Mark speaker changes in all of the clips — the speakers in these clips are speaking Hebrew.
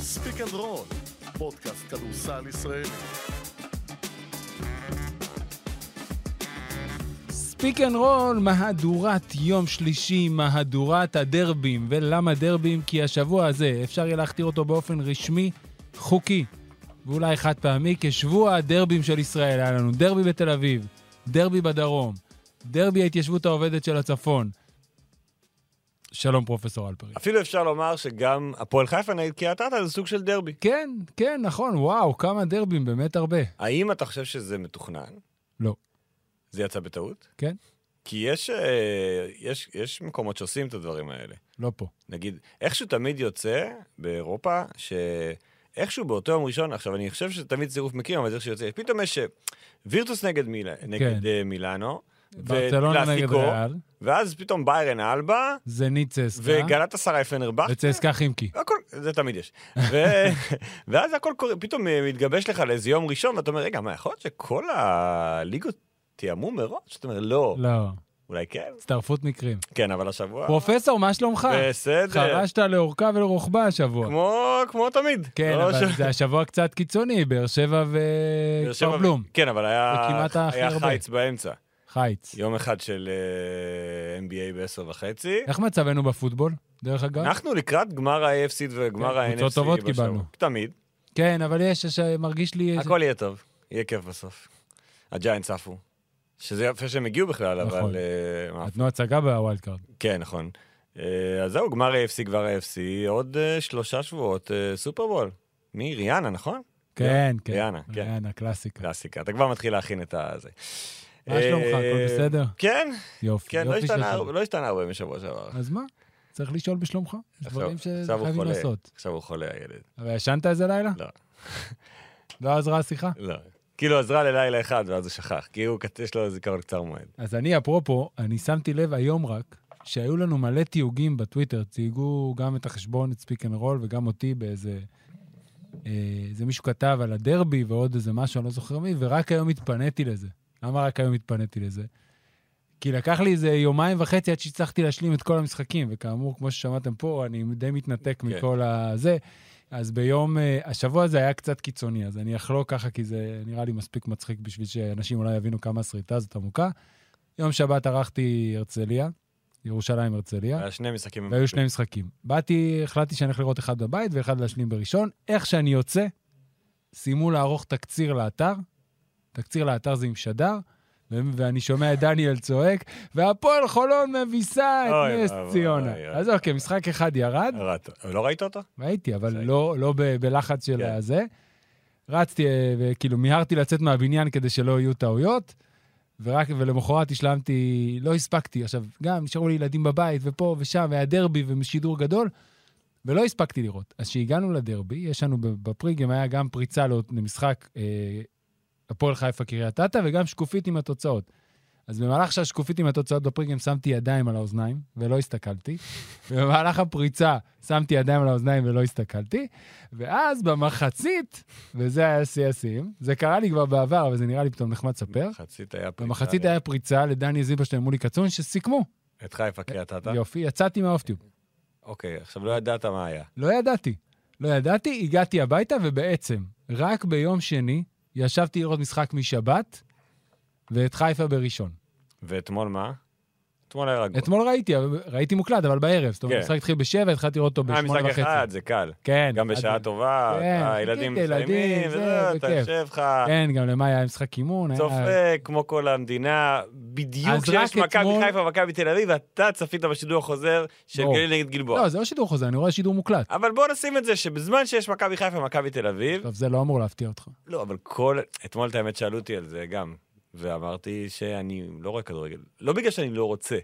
Speaker 1: ספיק אנד רול, פודקאסט כדורסל ישראלי.
Speaker 2: ספיק אנד רול, מהדורת יום שלישי, מהדורת הדרבים. ולמה דרבים? כי השבוע הזה, אפשר יהיה להכתיר אותו באופן רשמי, חוקי, ואולי חד פעמי, כשבוע הדרבים של ישראל. היה לנו דרבי בתל אביב, דרבי בדרום, דרבי ההתיישבות העובדת של הצפון. שלום, פרופסור אלפרי.
Speaker 3: אפילו אפשר לומר שגם הפועל חיפה נגד קריית אתא זה סוג של דרבי.
Speaker 2: כן, כן, נכון, וואו, כמה דרבים, באמת הרבה.
Speaker 3: האם אתה חושב שזה מתוכנן?
Speaker 2: לא.
Speaker 3: זה יצא בטעות?
Speaker 2: כן?
Speaker 3: כי יש, אה, יש, יש מקומות שעושים את הדברים האלה.
Speaker 2: לא פה.
Speaker 3: נגיד, איכשהו תמיד יוצא באירופה, שאיכשהו באותו יום ראשון, עכשיו אני חושב שזה תמיד צירוף מקרים, אבל זה איך שיוצא, פתאום יש אה, וירטוס נגד, מיל... נגד אה, מילאנו,
Speaker 2: כן. ברצלונה נגד
Speaker 3: וקלאסיקו,
Speaker 2: ריאל,
Speaker 3: ואז פתאום ביירן אלבה,
Speaker 2: זנית צסקה,
Speaker 3: וגלת עשרה פנרבכט.
Speaker 2: וצסקה חימקי.
Speaker 3: הכל, זה תמיד יש. ו... ואז הכל קורה, פתאום אה, מתגבש לך לאיזה יום ראשון, ואתה אומר, רגע, מה, יכול להיות שכל הליגות תיאמו מראש? אתה אומר, לא.
Speaker 2: לא,
Speaker 3: אולי כן?
Speaker 2: הצטרפות מקרים.
Speaker 3: כן, אבל השבוע...
Speaker 2: פרופסור, מה שלומך?
Speaker 3: בסדר.
Speaker 2: חרשת לאורכה ולרוחבה השבוע.
Speaker 3: כמו, כמו תמיד.
Speaker 2: כן,
Speaker 3: לא
Speaker 2: אבל
Speaker 3: ש-
Speaker 2: זה השבוע קצת קיצוני, באר שבע
Speaker 3: באר שבע
Speaker 2: וכפר
Speaker 3: ו-
Speaker 2: בלום.
Speaker 3: כן, אבל היה,
Speaker 2: זה כמעט הכי
Speaker 3: היה
Speaker 2: הרבה.
Speaker 3: חיץ באמצע.
Speaker 2: חיץ.
Speaker 3: יום אחד של אה, NBA בעשר וחצי.
Speaker 2: איך מצבנו בפוטבול, דרך אגב?
Speaker 3: אנחנו לקראת גמר ה-AFC וגמר
Speaker 2: נכון. כן,
Speaker 3: ה-NFC.
Speaker 2: קבוצות טובות
Speaker 3: בשבוע.
Speaker 2: קיבלנו.
Speaker 3: תמיד.
Speaker 2: כן, אבל יש, יש- מרגיש לי...
Speaker 3: הכל יהיה טוב, יהיה כיף בסוף. הג'יינטס עפו. שזה יפה שהם הגיעו בכלל,
Speaker 2: נכון.
Speaker 3: אבל... אה, מה,
Speaker 2: נתנו הצגה בווילד קארד.
Speaker 3: כן, נכון. אה, אז זהו, גמר ה-AFC, גמר ה-AFC, עוד אה, שלושה שבועות אה, סופרבול. מי? ריאנה, נכון?
Speaker 2: כן, כן.
Speaker 3: ריאנה, כן.
Speaker 2: ריאנה, קלאסיקה.
Speaker 3: קלאסיקה. אתה כבר מתחיל להכין את הזה.
Speaker 2: מה שלומך? הכל
Speaker 3: אה,
Speaker 2: בסדר?
Speaker 3: כן,
Speaker 2: יופי,
Speaker 3: כן, לא
Speaker 2: יופי של
Speaker 3: השתנה-
Speaker 2: חבר.
Speaker 3: לא השתנה הרבה משבוע שעבר.
Speaker 2: אז מה? צריך לשאול בשלומך? יש
Speaker 3: עכשיו-
Speaker 2: דברים
Speaker 3: עכשיו הוא
Speaker 2: שחייבים
Speaker 3: חולה.
Speaker 2: לעשות.
Speaker 3: עכשיו הוא חולה, הילד.
Speaker 2: אבל ישנת איזה לילה?
Speaker 3: לא.
Speaker 2: לא עזרה השיחה?
Speaker 3: לא. כאילו עזרה ללילה אחד, ואז הוא שכח. כי הוא, יש לו זיכרון קצר מועד.
Speaker 2: אז אני, אפרופו, אני שמתי לב היום רק, שהיו לנו מלא תיוגים בטוויטר, תייגו גם את החשבון, את ספיק אנד רול, וגם אותי באיזה... אה, איזה מישהו כתב על הדרבי ועוד איזה משהו, אני לא זוכר מי, ורק היום התפניתי לזה. למה רק היום התפניתי לזה? כי לקח לי איזה יומיים וחצי עד שהצלחתי להשלים את כל המשחקים, וכאמור, כמו ששמעתם פה, אני די מתנתק
Speaker 3: כן.
Speaker 2: מכל הזה. אז ביום, אה, השבוע זה היה קצת קיצוני, אז אני אחלוק ככה, כי זה נראה לי מספיק מצחיק בשביל שאנשים אולי יבינו כמה הסריטה הזאת עמוקה. יום שבת ערכתי הרצליה, ירושלים הרצליה.
Speaker 3: היה שני משחקים.
Speaker 2: כן. והיו שני משחקים. באתי, החלטתי שאני הולך לראות אחד בבית ואחד להשלים בראשון. איך שאני יוצא, סיימו לערוך תקציר לאתר. תקציר לאתר זה עם שדר, ו- ואני שומע את דניאל צועק, והפועל חולון מביסה את
Speaker 3: אוי,
Speaker 2: נס
Speaker 3: אוי,
Speaker 2: ציונה.
Speaker 3: אוי, אוי.
Speaker 2: אז אוקיי, משחק אחד ירד,
Speaker 3: ראית- לא ראית אותו?
Speaker 2: ראיתי, אבל
Speaker 3: זה-
Speaker 2: לא, לא ב- בלחץ של
Speaker 3: כן.
Speaker 2: הזה. רצתי, אה, וכאילו מיהרתי לצאת מהבניין כדי שלא יהיו טעויות, ורק, ולמחרת השלמתי, לא הספקתי. עכשיו, גם נשארו לי ילדים בבית, ופה ושם, והיה דרבי ושידור גדול, ולא הספקתי לראות. אז כשהגענו לדרבי, יש לנו ב- בפריגם, היה גם פריצה לא- למשחק אה, הפועל חיפה קריית אתא, וגם שקופית עם התוצאות. אז במהלך שהשקופית עם התוצאות בפריגם שמתי ידיים על האוזניים ולא הסתכלתי, ובמהלך הפריצה שמתי ידיים על האוזניים ולא הסתכלתי, ואז במחצית, וזה היה שיא השיאים, זה קרה לי כבר בעבר, אבל זה נראה לי פתאום נחמד לספר,
Speaker 3: במחצית היה פריצה.
Speaker 2: במחצית היה פריצה לדני זילברשטיין מולי קצון שסיכמו.
Speaker 3: את חיפה קריית אתא?
Speaker 2: יופי, יצאתי מהאופטיוב.
Speaker 3: אוקיי, עכשיו לא ידעת מה היה.
Speaker 2: לא ידעתי. לא ידעתי, הגעתי הביתה, ובעצם, רק ביום שני ישבתי לראות משחק משבת, ואת חיפה בראשון.
Speaker 3: ואתמול מה? אתמול היה רגוע.
Speaker 2: אתמול ראיתי, אבל- ראיתי מוקלט, אבל בערב. זאת אומרת,
Speaker 3: כן.
Speaker 2: המשחק התחיל בשבע, התחלתי לראות אותו
Speaker 3: אה,
Speaker 2: בשמונה
Speaker 3: משחק
Speaker 2: וחצי.
Speaker 3: אחד, זה קל.
Speaker 2: כן.
Speaker 3: גם בשעה
Speaker 2: עד-
Speaker 3: טובה,
Speaker 2: כן,
Speaker 3: הילדים
Speaker 2: חיכיתי, ילדים,
Speaker 3: מסיימים,
Speaker 2: זה,
Speaker 3: וזה, אתה
Speaker 2: בכיף.
Speaker 3: יושב לך,
Speaker 2: כן, גם למאי היה משחק אימון. היה-
Speaker 3: צופה כמו כל המדינה, בדיוק
Speaker 2: אז
Speaker 3: כשיש
Speaker 2: רק
Speaker 3: מכבי
Speaker 2: אתמול-
Speaker 3: חיפה ומכבי תל אביב, ואתה צפית בשידור החוזר של
Speaker 2: ברור.
Speaker 3: גליל נגד גלבוע.
Speaker 2: לא, זה לא שידור חוזר, אני רואה שידור מוקלט.
Speaker 3: אבל בוא נשים את זה שבזמן שיש מכבי חיפה ומכבי תל אביב,
Speaker 2: טוב, זה לא אמור להפתיע אותך.
Speaker 3: לא, אבל כל... אתמול את האמת שאלו אותי על זה גם, ואמרתי שאני לא רואה כדורגל. לא בגלל שאני לא רוצה.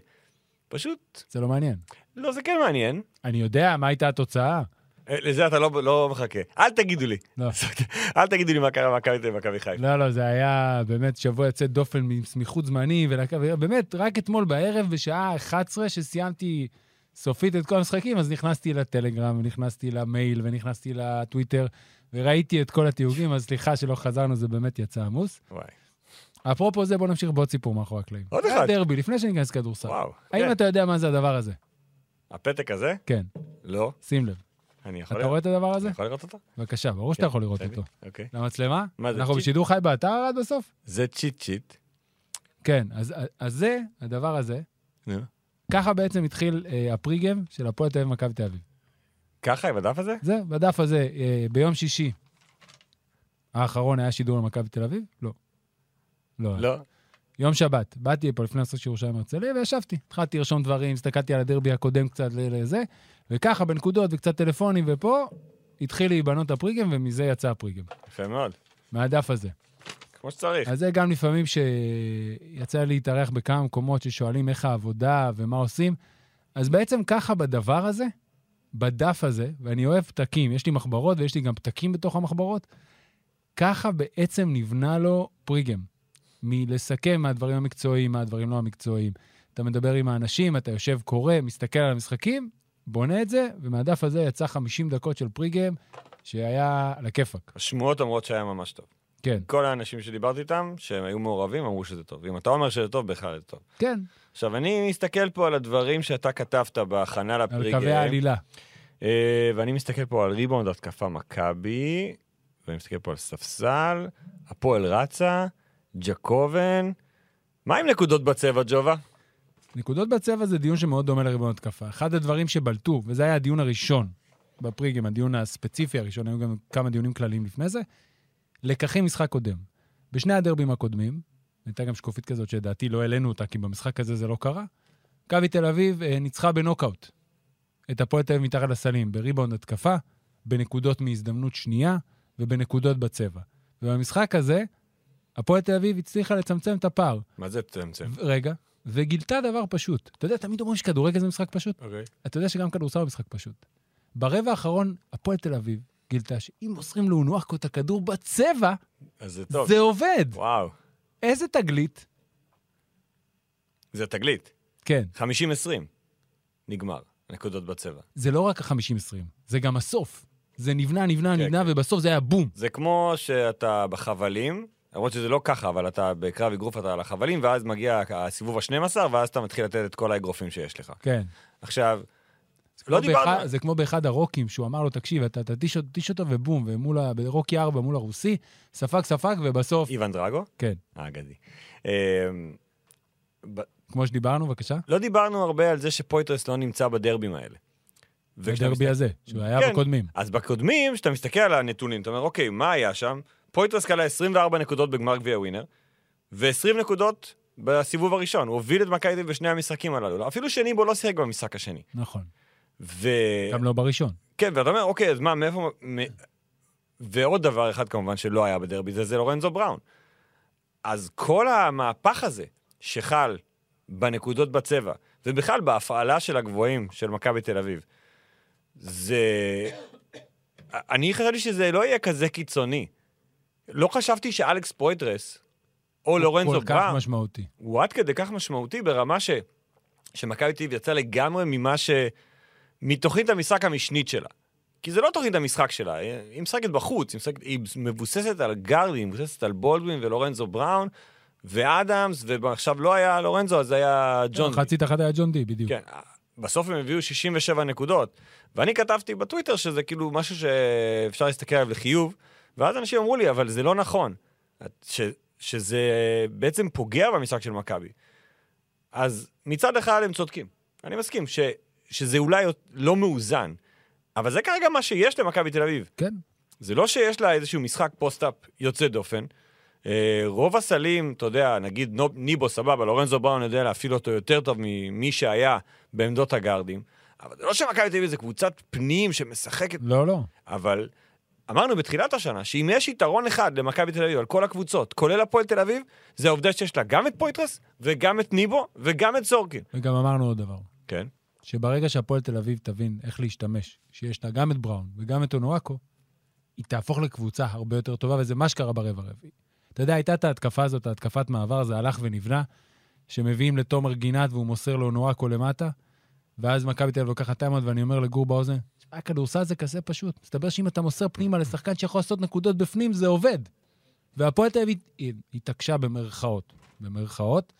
Speaker 3: פשוט,
Speaker 2: זה לא מעניין.
Speaker 3: לא, זה כן מעניין.
Speaker 2: אני יודע מה הייתה התוצאה.
Speaker 3: אה, לזה אתה לא, לא מחכה. אל תגידו לי.
Speaker 2: לא.
Speaker 3: אל תגידו לי מה קרה במכבי תל אביב ומכבי חיפה.
Speaker 2: לא, לא, זה היה באמת שבוע יוצא דופן מסמיכות זמני, ולק- ובאמת, רק אתמול בערב בשעה 11 שסיימתי סופית את כל המשחקים, אז נכנסתי לטלגרם, ונכנסתי למייל, ונכנסתי לטוויטר, וראיתי את כל התיוגים, אז סליחה שלא חזרנו, זה באמת יצא עמוס.
Speaker 3: וואי,
Speaker 2: אפרופו זה, בוא נמשיך בעוד סיפור מאחורי הקלעים.
Speaker 3: עוד
Speaker 2: היה
Speaker 3: אחד.
Speaker 2: דרבי, לפני שניכנס כדורסל.
Speaker 3: וואו.
Speaker 2: האם
Speaker 3: כן.
Speaker 2: אתה יודע מה זה הדבר הזה?
Speaker 3: הפתק הזה?
Speaker 2: כן,
Speaker 3: לא.
Speaker 2: שים לב.
Speaker 3: אני יכול
Speaker 2: אתה רואה את הדבר הזה?
Speaker 3: אני יכול לראות אותו?
Speaker 2: בבקשה, ברור שאתה
Speaker 3: כן,
Speaker 2: יכול לראות
Speaker 3: בסדר,
Speaker 2: אותו.
Speaker 3: אוקיי.
Speaker 2: למצלמה?
Speaker 3: מה זה,
Speaker 2: אנחנו
Speaker 3: צ'יט?
Speaker 2: בשידור חי באתר עד בסוף?
Speaker 3: זה צ'יט צ'יט.
Speaker 2: כן, אז אז זה, הדבר הזה,
Speaker 3: נו.
Speaker 2: ככה בעצם התחיל אה, הפריגם של הפועל תל אביב מכבי תל אביב.
Speaker 3: ככה עם הדף הזה?
Speaker 2: זה, בדף הזה, אה, ביום שישי האחרון היה שידור למכבי תל אביב? לא. לא. היה.
Speaker 3: לא.
Speaker 2: יום שבת, באתי לפה לפני הסוף של ירושלים הרצליה וישבתי. התחלתי לרשום דברים, הסתכלתי על הדרבי הקודם קצת ל- לזה, וככה בנקודות וקצת טלפונים ופה, התחיל להיבנות הפריגם ומזה יצא הפריגם.
Speaker 3: יפה מאוד.
Speaker 2: מהדף הזה.
Speaker 3: כמו שצריך.
Speaker 2: אז זה גם לפעמים שיצא לי להתארח בכמה מקומות ששואלים איך העבודה ומה עושים. אז בעצם ככה בדבר הזה, בדף הזה, ואני אוהב פתקים, יש לי מחברות ויש לי גם פתקים בתוך המחברות, ככה בעצם נבנה לו פריגם. מלסכם מהדברים המקצועיים, מהדברים לא המקצועיים. אתה מדבר עם האנשים, אתה יושב, קורא, מסתכל על המשחקים, בונה את זה, ומהדף הזה יצא 50 דקות של פריגם, שהיה על הכיפאק.
Speaker 3: השמועות אומרות שהיה ממש טוב.
Speaker 2: כן,
Speaker 3: כל האנשים שדיברתי איתם, שהם היו מעורבים, אמרו שזה טוב. אם אתה אומר שזה טוב, בכלל זה טוב.
Speaker 2: כן,
Speaker 3: עכשיו, אני מסתכל פה על הדברים שאתה כתבת בהכנה
Speaker 2: על
Speaker 3: לפריגי.
Speaker 2: קווי העלילה.
Speaker 3: אה, ואני מסתכל פה על ריבאונד התקפה מכבי, ואני מסתכל פה על ספסל, הפועל רצה, ג'קובן. מה עם נקודות בצבע, ג'ובה?
Speaker 2: נקודות בצבע זה דיון שמאוד דומה לריבון התקפה. אחד הדברים שבלטו, וזה היה הדיון הראשון בפריגים, הדיון הספציפי הראשון, היו גם כמה דיונים כלליים לפני זה, לקחים משחק קודם. בשני הדרבים הקודמים, הייתה גם שקופית כזאת שלדעתי לא העלינו אותה, כי במשחק הזה זה לא קרה, מכבי תל אביב אה, ניצחה בנוקאוט את הפועל תל אביב מתחת לסלים, בריבאונד התקפה, בנקודות מהזדמנות שנייה ובנקודות בצבע. ובמשחק הזה, הפועל תל אביב הצליחה לצמצם את הפער.
Speaker 3: מה זה צמצם?
Speaker 2: ו- רגע, וגילתה דבר פשוט. אתה יודע, תמיד אומרים שכדורגל זה משחק פשוט.
Speaker 3: אוקיי.
Speaker 2: אתה יודע שגם כדורסל הוא משחק פשוט. ברבע האחרון, הפועל תל אביב גילתה שאם מוסרים לאונואקו את הכדור בצבע,
Speaker 3: אז זה טוב.
Speaker 2: זה עובד.
Speaker 3: וואו,
Speaker 2: איזה תגלית.
Speaker 3: זה תגלית.
Speaker 2: כן,
Speaker 3: 50-20. נגמר. נקודות בצבע.
Speaker 2: זה לא רק ה-50-20, זה גם הסוף. זה נבנה, נבנה,
Speaker 3: כן,
Speaker 2: נבנה,
Speaker 3: כן.
Speaker 2: ובסוף זה היה בום.
Speaker 3: זה כמו שאתה בחבלים, למרות שזה לא ככה, אבל אתה בקרב אגרוף אתה על החבלים, ואז מגיע הסיבוב ה-12, ואז אתה מתחיל לתת את כל האגרופים שיש לך.
Speaker 2: כן.
Speaker 3: עכשיו, לא
Speaker 2: כמו באחד-
Speaker 3: דיברנו...
Speaker 2: זה כמו באחד הרוקים, שהוא אמר לו, תקשיב, אתה תתיש אותו- תתיש אותו ובום, ומול, ה- ברוקי 4 מול הרוסי, ספג, ספג, ובסוף,
Speaker 3: איוון דרגו?
Speaker 2: כן.
Speaker 3: האגדי. אמ, ב-
Speaker 2: כמו שדיברנו, בבקשה.
Speaker 3: לא דיברנו הרבה על זה שפויטרס לא נמצא בדרבים האלה. וכשאתה
Speaker 2: הדרבי הזה, שהוא היה
Speaker 3: כן.
Speaker 2: בקודמים.
Speaker 3: אז בקודמים, כשאתה מסתכל על הנתונים, אתה אומר, אוקיי, מה היה שם? פויטרס כלה 24 נקודות בגמר גביע ווינר, ו-20 נקודות בסיבוב הראשון. הוא הוביל את מכבי תל אביב בשני המשחקים הללו. אפילו שני בו לא שיחק במשחק השני.
Speaker 2: נכון.
Speaker 3: ו...
Speaker 2: גם לא בראשון.
Speaker 3: כן, ואתה אומר, אוקיי, אז מה, מאיפה... מ... ועוד דבר אחד כמובן שלא היה בדרבי, זה, זה לורנזו בראון. אז כל המהפך הזה שחל בנקודות בצבע, ובכלל בהפעלה של הגבוהים של מכבי תל אביב, זה... אני חשבתי שזה לא יהיה כזה קיצוני. לא חשבתי שאלכס פויטרס, או לורנזו
Speaker 2: כל כך
Speaker 3: בראון,
Speaker 2: משמעותי.
Speaker 3: הוא עד כדי כך משמעותי ברמה ש... שמכבי תל אביב יצאה לגמרי ממה ש... מתוכנית המשחק המשנית שלה. כי זה לא תוכנית המשחק שלה, היא משחקת בחוץ, היא, משחקת... היא מבוססת על גרדי, היא מבוססת על בולדווין ולורנזו בראון ואדמס, ועכשיו לא היה לורנזו, אז היה ג'ון. די.
Speaker 2: חצית אחת היה ג'ון די, בדיוק.
Speaker 3: כן, בסוף הם הביאו 67 נקודות, ואני כתבתי בטוויטר שזה כאילו משהו שאפשר להסתכל עליו לחיוב, ואז אנשים אמרו לי, אבל זה לא נכון, את- ש, שזה בעצם פוגע במשחק של מכבי. אז מצד אחד הם צודקים, אני מסכים, ש, שזה אולי לא מאוזן, אבל זה כרגע מה שיש למכבי תל אביב.
Speaker 2: כן.
Speaker 3: זה לא שיש לה איזשהו משחק פוסט-אפ יוצא דופן. אה, רוב הסלים, אתה יודע, נגיד נו- ניבו סבבה, לורנזו בראון יודע להפעיל אותו יותר טוב ממי שהיה בעמדות הגארדים. אבל זה לא שמכבי תל אביב זה קבוצת פנים שמשחקת,
Speaker 2: לא, לא.
Speaker 3: אבל אמרנו בתחילת השנה שאם יש יתרון אחד למכבי תל אביב על כל הקבוצות, כולל הפועל תל אביב, זה העובדה שיש לה גם את פויטרס וגם את ניבו וגם את סורקין.
Speaker 2: וגם אמרנו עוד דבר,
Speaker 3: כן.
Speaker 2: שברגע שהפועל תל אביב תבין איך להשתמש, שיש לה גם את בראון וגם את אונואקו, היא תהפוך לקבוצה הרבה יותר טובה, וזה מה שקרה ברבע הרביעי. אתה יודע, הייתה את ההתקפה הזאת, ההתקפת מעבר, זה הלך ונבנה, שמביאים לתומר גינת והוא מוסר לאונואקו למטה, ואז מכבי תל אביב לוקחת טיימאוט ואני אומר לגור באוזן, "תשמע, הכדורסל זה כזה פשוט. מסתבר שאם אתה מוסר פנימה לשחקן שיכול לעשות נקודות בפנים, זה עובד. והפועל תל אביב הת- התעקשה במרכאות, במרכאות,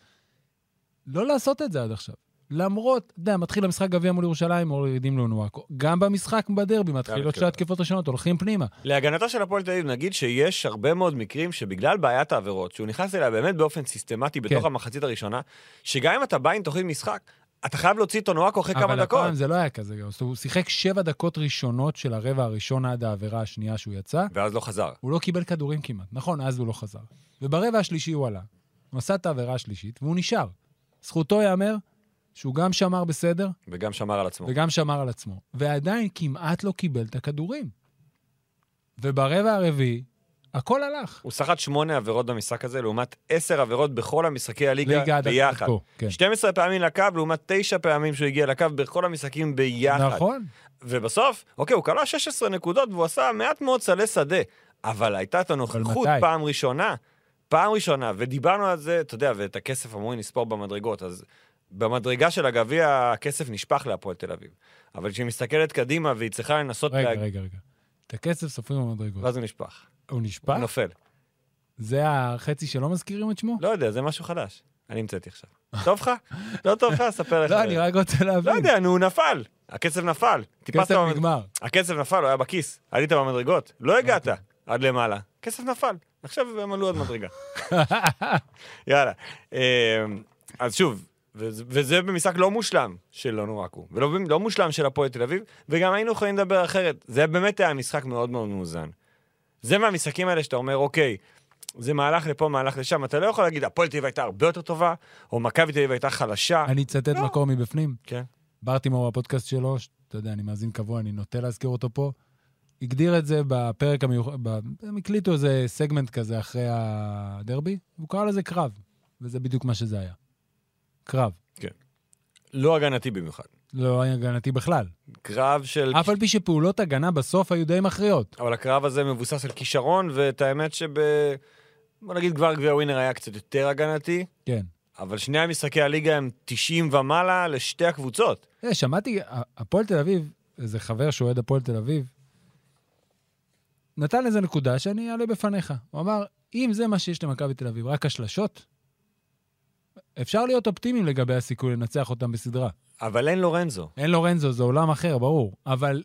Speaker 2: לא לעשות את זה עד עכשיו. למרות, אתה יודע, מתחיל המשחק גביע מול ירושלים, מורידים לו נועקו. גם במשחק בדרבי מתחילות שתי
Speaker 3: התקפות.
Speaker 2: התקפות ראשונות, הולכים פנימה.
Speaker 3: להגנתה של הפועל תל אביב, נגיד שיש הרבה מאוד מקרים שבגלל בעיית העבירות, שהוא נכנס אליה באמת באופן סיסטמטי בתוך
Speaker 2: כן.
Speaker 3: המחצית הראשונה, שגם אם אתה בא עם תוכנית משחק, אתה חייב להוציא את אונואקו אחרי כמה
Speaker 2: אבל
Speaker 3: דקות.
Speaker 2: הפעם זה לא היה כזה גרוע. זאת אומרת, הוא שיחק שבע דקות ראשונות של הרבע הראשון עד העבירה השנייה שהוא יצא.
Speaker 3: ואז לא חזר.
Speaker 2: הוא לא קיבל כדורים כמעט. נכון, אז הוא לא חזר. וברבע השלישי הוא עלה. הוא עשה את העבירה השלישית, והוא נשאר. זכותו ייאמר שהוא גם שמר בסדר,
Speaker 3: וגם שמר על עצמו.
Speaker 2: וגם שמר על עצמו. ועדיין כמעט לא קיבל את הכדורים. וברבע הרביעי, הכל הלך.
Speaker 3: הוא סחט שמונה עבירות במשחק הזה, לעומת עשר עבירות בכל המשחקי הליגה
Speaker 2: עד
Speaker 3: ביחד.
Speaker 2: פה, כן.
Speaker 3: 12 פעמים לקו, לעומת תשע פעמים שהוא הגיע לקו בכל המשחקים ביחד.
Speaker 2: נכון.
Speaker 3: ובסוף, אוקיי, הוא כלא 16 נקודות והוא עשה מעט מאוד סלי שדה, אבל הייתה את הנוכחות
Speaker 2: מתי?
Speaker 3: פעם ראשונה, פעם ראשונה, ודיברנו על זה, אתה יודע, ואת הכסף אמורים לספור במדרגות, אז במדרגה של הגביע הכסף נשפך להפועל תל אביב. אבל כשהיא מסתכלת קדימה והיא צריכה לנסות
Speaker 2: רגע,
Speaker 3: להג-
Speaker 2: רגע, רגע. את הכסף סופרים במדרגות.
Speaker 3: ואז לא. הוא נשפך,
Speaker 2: הוא
Speaker 3: הוא
Speaker 2: נשפט?
Speaker 3: נופל.
Speaker 2: זה החצי שלא מזכירים את שמו?
Speaker 3: לא יודע, זה משהו חדש. אני המצאתי עכשיו. טוב לך? לא טוב לך? אספר לך.
Speaker 2: לא, אני רק רוצה
Speaker 3: לא
Speaker 2: להבין.
Speaker 3: יודע, נו, הוא נפל. הכסף נפל. טיפסת
Speaker 2: כסף
Speaker 3: במד-
Speaker 2: נגמר.
Speaker 3: הכסף נפל, הוא היה בכיס. עלית במדרגות, לא הגעת עד למעלה. כסף נפל. עכשיו הם עלו עד מדרגה. יאללה. אמ, אז שוב, וזה- וזה במשחק לא מושלם של אונואקו, ולא לא מושלם של הפועל תל אביב, וגם היינו יכולים לדבר אחרת. זה באמת היה משחק מאוד מאוד מאוזן. זה מהמשחקים האלה שאתה אומר, אוקיי, זה מהלך לפה, מהלך לשם, אתה לא יכול להגיד, הפועל תל אביב הייתה הרבה יותר טובה, או מכבי תל אביב הייתה חלשה.
Speaker 2: אני אצטט
Speaker 3: לא.
Speaker 2: מקור מבפנים.
Speaker 3: כן.
Speaker 2: ברטימור בפודקאסט שלו, ש- אתה יודע, אני מאזין קבוע, אני נוטה להזכיר אותו פה, הגדיר את זה בפרק המיוחד, הם הקליטו איזה סגמנט כזה אחרי הדרבי, והוא קרא לזה קרב, וזה בדיוק מה שזה היה. קרב.
Speaker 3: לא הגנתי במיוחד.
Speaker 2: לא היה הגנתי בכלל.
Speaker 3: קרב של...
Speaker 2: אף על פי שפעולות הגנה בסוף היו די מכריעות.
Speaker 3: אבל הקרב הזה מבוסס על כישרון, ואת האמת שב... בוא נגיד כבר גביע ווינר היה קצת יותר הגנתי,
Speaker 2: כן.
Speaker 3: אבל שני המשחקי הליגה הם 90 ומעלה לשתי הקבוצות.
Speaker 2: אה, שמעתי, ה- הפועל תל אביב, איזה חבר שאוהד הפועל תל אביב, נתן איזה נקודה שאני אעלה בפניך. הוא אמר, אם זה מה שיש למכבי תל אביב, רק השלשות, אפשר להיות אופטימיים לגבי הסיכוי לנצח אותם בסדרה.
Speaker 3: אבל אין לורנזו.
Speaker 2: אין לורנזו, זה עולם אחר, ברור. אבל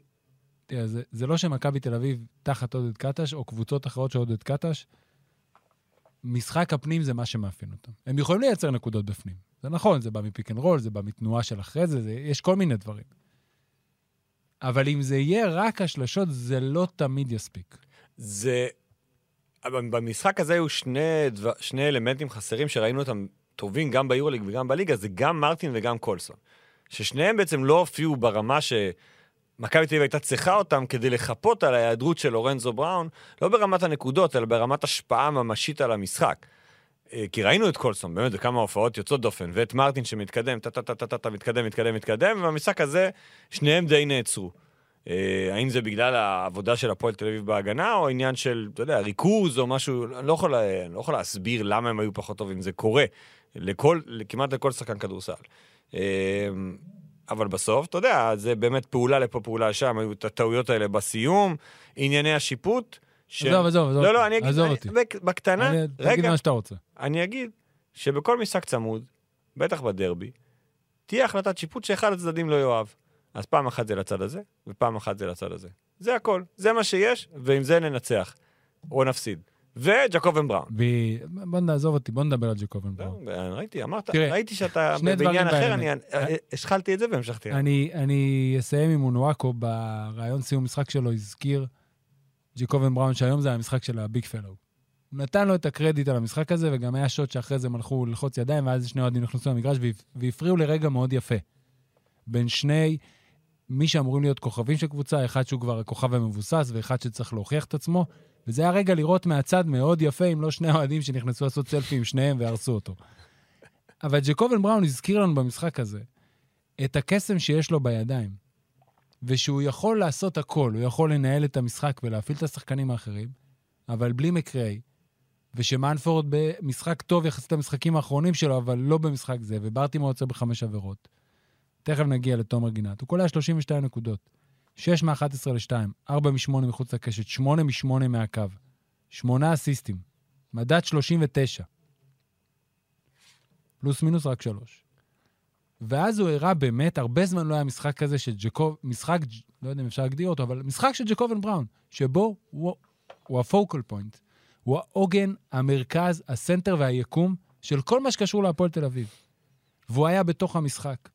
Speaker 2: תראה, זה, זה לא שמכבי תל אביב תחת עודד קטש, או קבוצות אחרות של עודד קטש, משחק הפנים זה מה שמאפיין אותם. הם יכולים לייצר נקודות בפנים. זה נכון, זה בא מפיק אנד רול, זה בא מתנועה של אחרי זה, זה, יש כל מיני דברים. אבל אם זה יהיה רק השלשות, זה לא תמיד יספיק.
Speaker 3: זה... אבל במשחק הזה היו שני, דבר... שני אלמנטים חסרים שראינו אותם טובים גם ביורוליג וגם בליגה, זה גם מרטין וגם קולסון. ששניהם בעצם לא הופיעו ברמה שמכבי תל אביב הייתה צריכה אותם כדי לחפות על ההיעדרות של לורנזו בראון, לא ברמת הנקודות, אלא ברמת השפעה ממשית על המשחק. אה, כי ראינו את קולסון, באמת, בכמה הופעות יוצאות דופן, ואת מרטין שמתקדם, טה-טה-טה-טה, מתקדם, מתקדם, מתקדם, ובמשחק הזה שניהם די נעצרו. אה, האם זה בגלל העבודה של הפועל תל אביב בהגנה, או עניין של, אתה יודע, ריכוז או משהו, אני לא יכול, לה- אני לא יכול להסביר למה הם היו פחות טובים, זה קורה לכל, כמעט לכל שחקן כדורסל. אה, אבל בסוף, אתה יודע, זה באמת פעולה לפה, פעולה לשם, היו את הטעויות האלה בסיום, ענייני השיפוט. ש-
Speaker 2: עזוב, עזוב, עזוב
Speaker 3: לא,
Speaker 2: אותי,
Speaker 3: לא, אני אגיד,
Speaker 2: עזוב
Speaker 3: אני-
Speaker 2: אותי.
Speaker 3: בק- בקטנה,
Speaker 2: אני- תגיד
Speaker 3: רגע,
Speaker 2: מה שאתה רוצה.
Speaker 3: אני אגיד שבכל משחק צמוד, בטח בדרבי, תהיה החלטת שיפוט שאחד הצדדים לא יאהב. אז פעם אחת זה לצד הזה, ופעם אחת זה לצד הזה. זה הכל, זה מה שיש, ועם זה ננצח. או נפסיד. וג'קובן בראון.
Speaker 2: ב... בוא נעזוב אותי, בוא נדבר על ג'קובן בראון.
Speaker 3: לא, ראיתי, אמרת,
Speaker 2: תראה,
Speaker 3: ראיתי שאתה
Speaker 2: שני דברים
Speaker 3: בעניין
Speaker 2: אה?
Speaker 3: אחר, אני אני- השחלתי את זה והמשכתי.
Speaker 2: אני, אני אסיים עם אונואקו, בראיון סיום משחק שלו הזכיר ג'קובן בראון, שהיום זה המשחק של הביג פלו. הוא נתן לו את הקרדיט על המשחק הזה, וגם היה שוט שאחרי זה הם הלכו ללחוץ ידיים, ואז שני אוהדים נכנסו למגרש והפ- והפריעו לרגע מאוד יפה. בין שני, מי שאמורים להיות כוכבים של קבוצה, אחד שהוא כבר הכוכב המבוסס, ואחד שצריך להוכיח את עצמו, וזה היה רגע לראות מהצד מאוד יפה, אם לא שני האוהדים שנכנסו לעשות סלפי עם שניהם והרסו אותו. אבל ג'קובן בראון הזכיר לנו במשחק הזה את הקסם שיש לו בידיים, ושהוא יכול לעשות הכל, הוא יכול לנהל את המשחק ולהפעיל את השחקנים האחרים, אבל בלי מקראי, ושמנפורד במשחק טוב יחסית למשחקים האחרונים שלו, אבל לא במשחק זה, וברטימור יוצא בחמש עבירות. תכף נגיע לתומר גינת. הוא קולע 32 נקודות, 6 מ-11 ל-2, 4 מ-8 מחוץ לקשת, 8 מ-8 מהקו, 8 אסיסטים, מדד 39, פלוס מינוס רק 3. ואז הוא הראה באמת, הרבה זמן לא היה משחק כזה שג'קוב, משחק, ג'- לא יודע אם אפשר להגדיר אותו, אבל משחק של ג'קובן בראון, שבו הוא, הוא הפוקל פוינט, הוא העוגן, המרכז, הסנטר והיקום של כל מה שקשור להפועל תל אביב. והוא היה בתוך המשחק,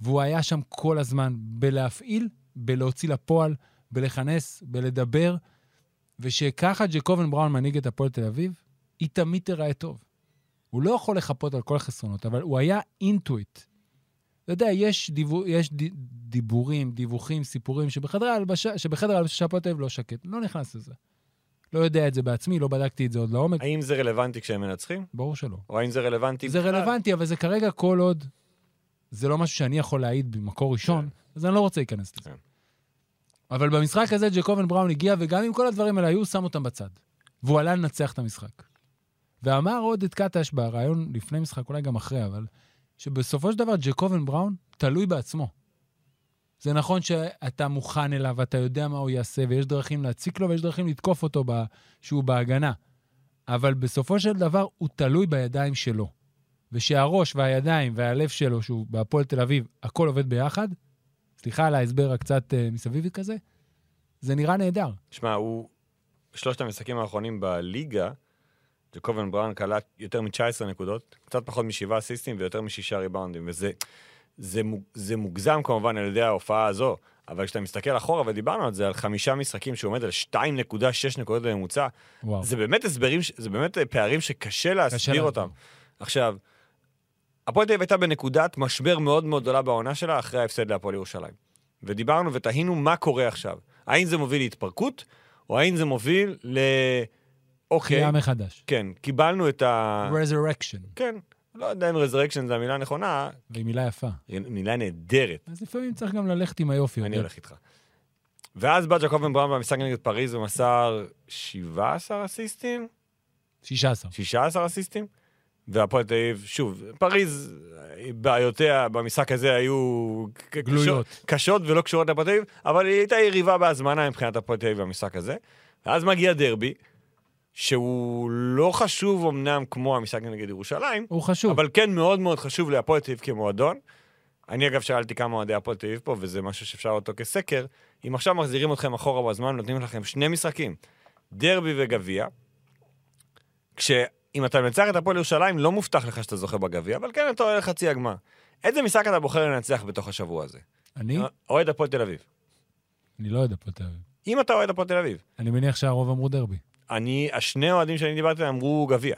Speaker 2: והוא היה שם כל הזמן בלהפעיל, בלהוציא לפועל, בלכנס, בלדבר, ושככה ג'קובן בראון מנהיג את הפועל תל אביב, היא תמיד תיראה טוב. הוא לא יכול לחפות על כל החסרונות, אבל הוא היה אינטואיט. אתה יודע, יש, דיבור, יש ד, דיבורים, דיווחים, סיפורים שבחדר ההלבשה, שבחדר ההלבשה של הפועל תל אביב לא שקט. לא נכנס לזה. לא יודע את זה בעצמי, לא בדקתי את זה עוד לעומק,
Speaker 3: האם זה רלוונטי כשהם מנצחים?
Speaker 2: ברור שלא.
Speaker 3: או האם זה רלוונטי
Speaker 2: זה
Speaker 3: בכלל?
Speaker 2: רלוונטי, אבל זה כרגע כל עוד זה לא משהו שאני יכול להעיד במקור ראשון, אז אני לא רוצה להיכנס לזה.
Speaker 3: כן.
Speaker 2: אבל במשחק הזה ג'קובן בראון הגיע, וגם אם כל הדברים האלה היו, הוא שם אותם בצד. והוא עלה לנצח את המשחק. ואמר עוד את קטש בריאיון לפני משחק, אולי גם אחרי, אבל, שבסופו של דבר ג'קובן בראון תלוי בעצמו. זה נכון שאתה מוכן אליו, ואתה יודע מה הוא יעשה, ויש דרכים להציק לו, ויש דרכים לתקוף אותו ב... שהוא בהגנה. אבל בסופו של דבר הוא תלוי בידיים שלו. ושהראש והידיים והלב שלו, שהוא בהפועל תל אביב, הכל עובד ביחד, סליחה על ההסבר הקצת אה, מסביבי כזה, זה נראה נהדר.
Speaker 3: שמע, הוא... שלושת המשחקים האחרונים בליגה, ג'קובן בראון קלט יותר מ-19 נקודות, קצת פחות משבעה אסיסטים ויותר משישה ריבאונדים, וזה זה, מוג- זה מוגזם כמובן על ידי ההופעה הזו, אבל כשאתה מסתכל אחורה, ודיברנו על זה, על חמישה משחקים שהוא עומד על 2.6 נקודות בממוצע,
Speaker 2: וואו.
Speaker 3: זה באמת הסברים, ש- זה באמת אה, פערים שקשה
Speaker 2: להסביר.
Speaker 3: להסביר אותם. עכשיו, הפועל תל אביב הייתה בנקודת משבר מאוד מאוד גדולה בעונה שלה אחרי ההפסד להפועל ירושלים. ודיברנו ותהינו מה קורה עכשיו. האם זה מוביל להתפרקות, או האם זה מוביל ל... אוקיי, אה.
Speaker 2: קריאה מחדש.
Speaker 3: כן, קיבלנו את ה...
Speaker 2: רזרקשן,
Speaker 3: כן, לא יודע אם רזרקשן זו המילה הנכונה,
Speaker 2: והיא מילה יפה.
Speaker 3: מילה נהדרת.
Speaker 2: אז לפעמים צריך גם ללכת עם היופי.
Speaker 3: אני
Speaker 2: יודע.
Speaker 3: הולך איתך. ואז בא ג'קובן בראון במשחק נגד פריז ומסר 17 אסיסטים?
Speaker 2: 16.
Speaker 3: 16 אסיסטים, והפועל תל אביב, שוב, פריז, בעיותיה במשחק הזה היו ק-
Speaker 2: גלויות.
Speaker 3: קשות, קשות ולא קשורות לפועל תל אביב, אבל היא הייתה יריבה בהזמנה מבחינת הפועל תל אביב במשחק הזה. ואז מגיע דרבי, שהוא לא חשוב אמנם כמו המשחק נגד ירושלים,
Speaker 2: הוא חשוב.
Speaker 3: אבל כן מאוד מאוד חשוב להפועל תל אביב כמועדון. אני אגב שאלתי כמה אוהדי הפועל תל אביב פה, וזה משהו שאפשר לראות אותו כסקר. אם עכשיו מחזירים אתכם אחורה בזמן, נותנים לכם שני משחקים, דרבי וגביע, כשאם אתה מנצח את הפועל ירושלים, לא מובטח לך שאתה זוכה בגביע, אבל כן אתה עולה לחצי הגמר. איזה משחק אתה בוחר לנצח בתוך השבוע הזה?
Speaker 2: אני?
Speaker 3: אוהד הפועל תל אביב.
Speaker 2: אני לא יודע פה תל אביב.
Speaker 3: אם אתה אוהד הפועל תל אביב,
Speaker 2: אני מניח שהרוב אמרו דרבי.
Speaker 3: אני, השני אוהדים שאני דיברתי עליהם אמרו גביע.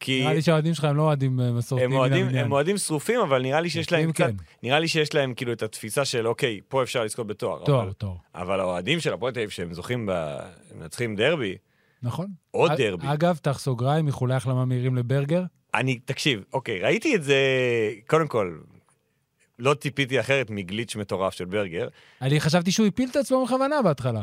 Speaker 3: כי
Speaker 2: נראה לי שהאוהדים שלך הם לא אוהדים אה, מסורתיים.
Speaker 3: הם
Speaker 2: מן
Speaker 3: אוהדים,
Speaker 2: המניין.
Speaker 3: הם אוהדים שרופים, אבל נראה לי שיש להם
Speaker 2: שרופים,
Speaker 3: קצת,
Speaker 2: כן.
Speaker 3: נראה לי שיש להם כאילו את התפיסה של אוקיי, פה אפשר לזכות בתואר.
Speaker 2: תואר,
Speaker 3: אבל-
Speaker 2: תואר.
Speaker 3: אבל האוהדים של הפועל תל אביב שהם זוכים ב... הם מנצחים דרבי,
Speaker 2: נכון.
Speaker 3: עוד
Speaker 2: א-
Speaker 3: דרבי.
Speaker 2: אגב, תח סוגריים, איחולי החלמה מהירים לברגר.
Speaker 3: אני, תקשיב, אוקיי, ראיתי את זה, קודם כל, לא טיפיתי אחרת מגליץ' מטורף של ברגר,
Speaker 2: אני חשבתי שהוא הפיל את עצמו בכוונה בהתחלה.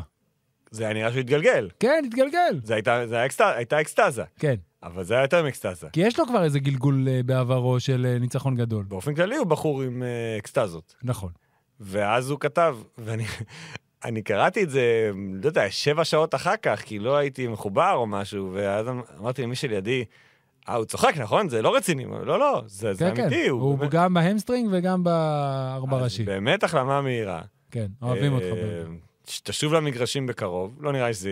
Speaker 3: זה היה נראה שהוא התגלגל,
Speaker 2: כן, התגלגל.
Speaker 3: זה הייתה, זה היה, אקסט... הייתה אקסטזה,
Speaker 2: כן.
Speaker 3: אבל זה היה יותר מאקסטזה.
Speaker 2: כי יש לו כבר איזה גלגול אה, בעברו של אה, ניצחון גדול.
Speaker 3: באופן כללי הוא בחור עם אה, אקסטזות.
Speaker 2: נכון.
Speaker 3: ואז הוא כתב, ואני אני קראתי את זה, לא יודע, שבע שעות אחר כך, כי לא הייתי מחובר או משהו, ואז אמ- אמרתי למי שלידי, אה, הוא צוחק, נכון? זה לא רציני. הוא, לא, לא, זה, זה
Speaker 2: כן, כן.
Speaker 3: אמיתי.
Speaker 2: הוא
Speaker 3: באמת-
Speaker 2: גם בהמסטרינג וגם בארבע
Speaker 3: אז
Speaker 2: ראשי.
Speaker 3: באמת החלמה מהירה.
Speaker 2: כן, אוהבים אותך.
Speaker 3: אה,
Speaker 2: ברגר.
Speaker 3: שתשוב למגרשים בקרוב, לא נראה לי שזה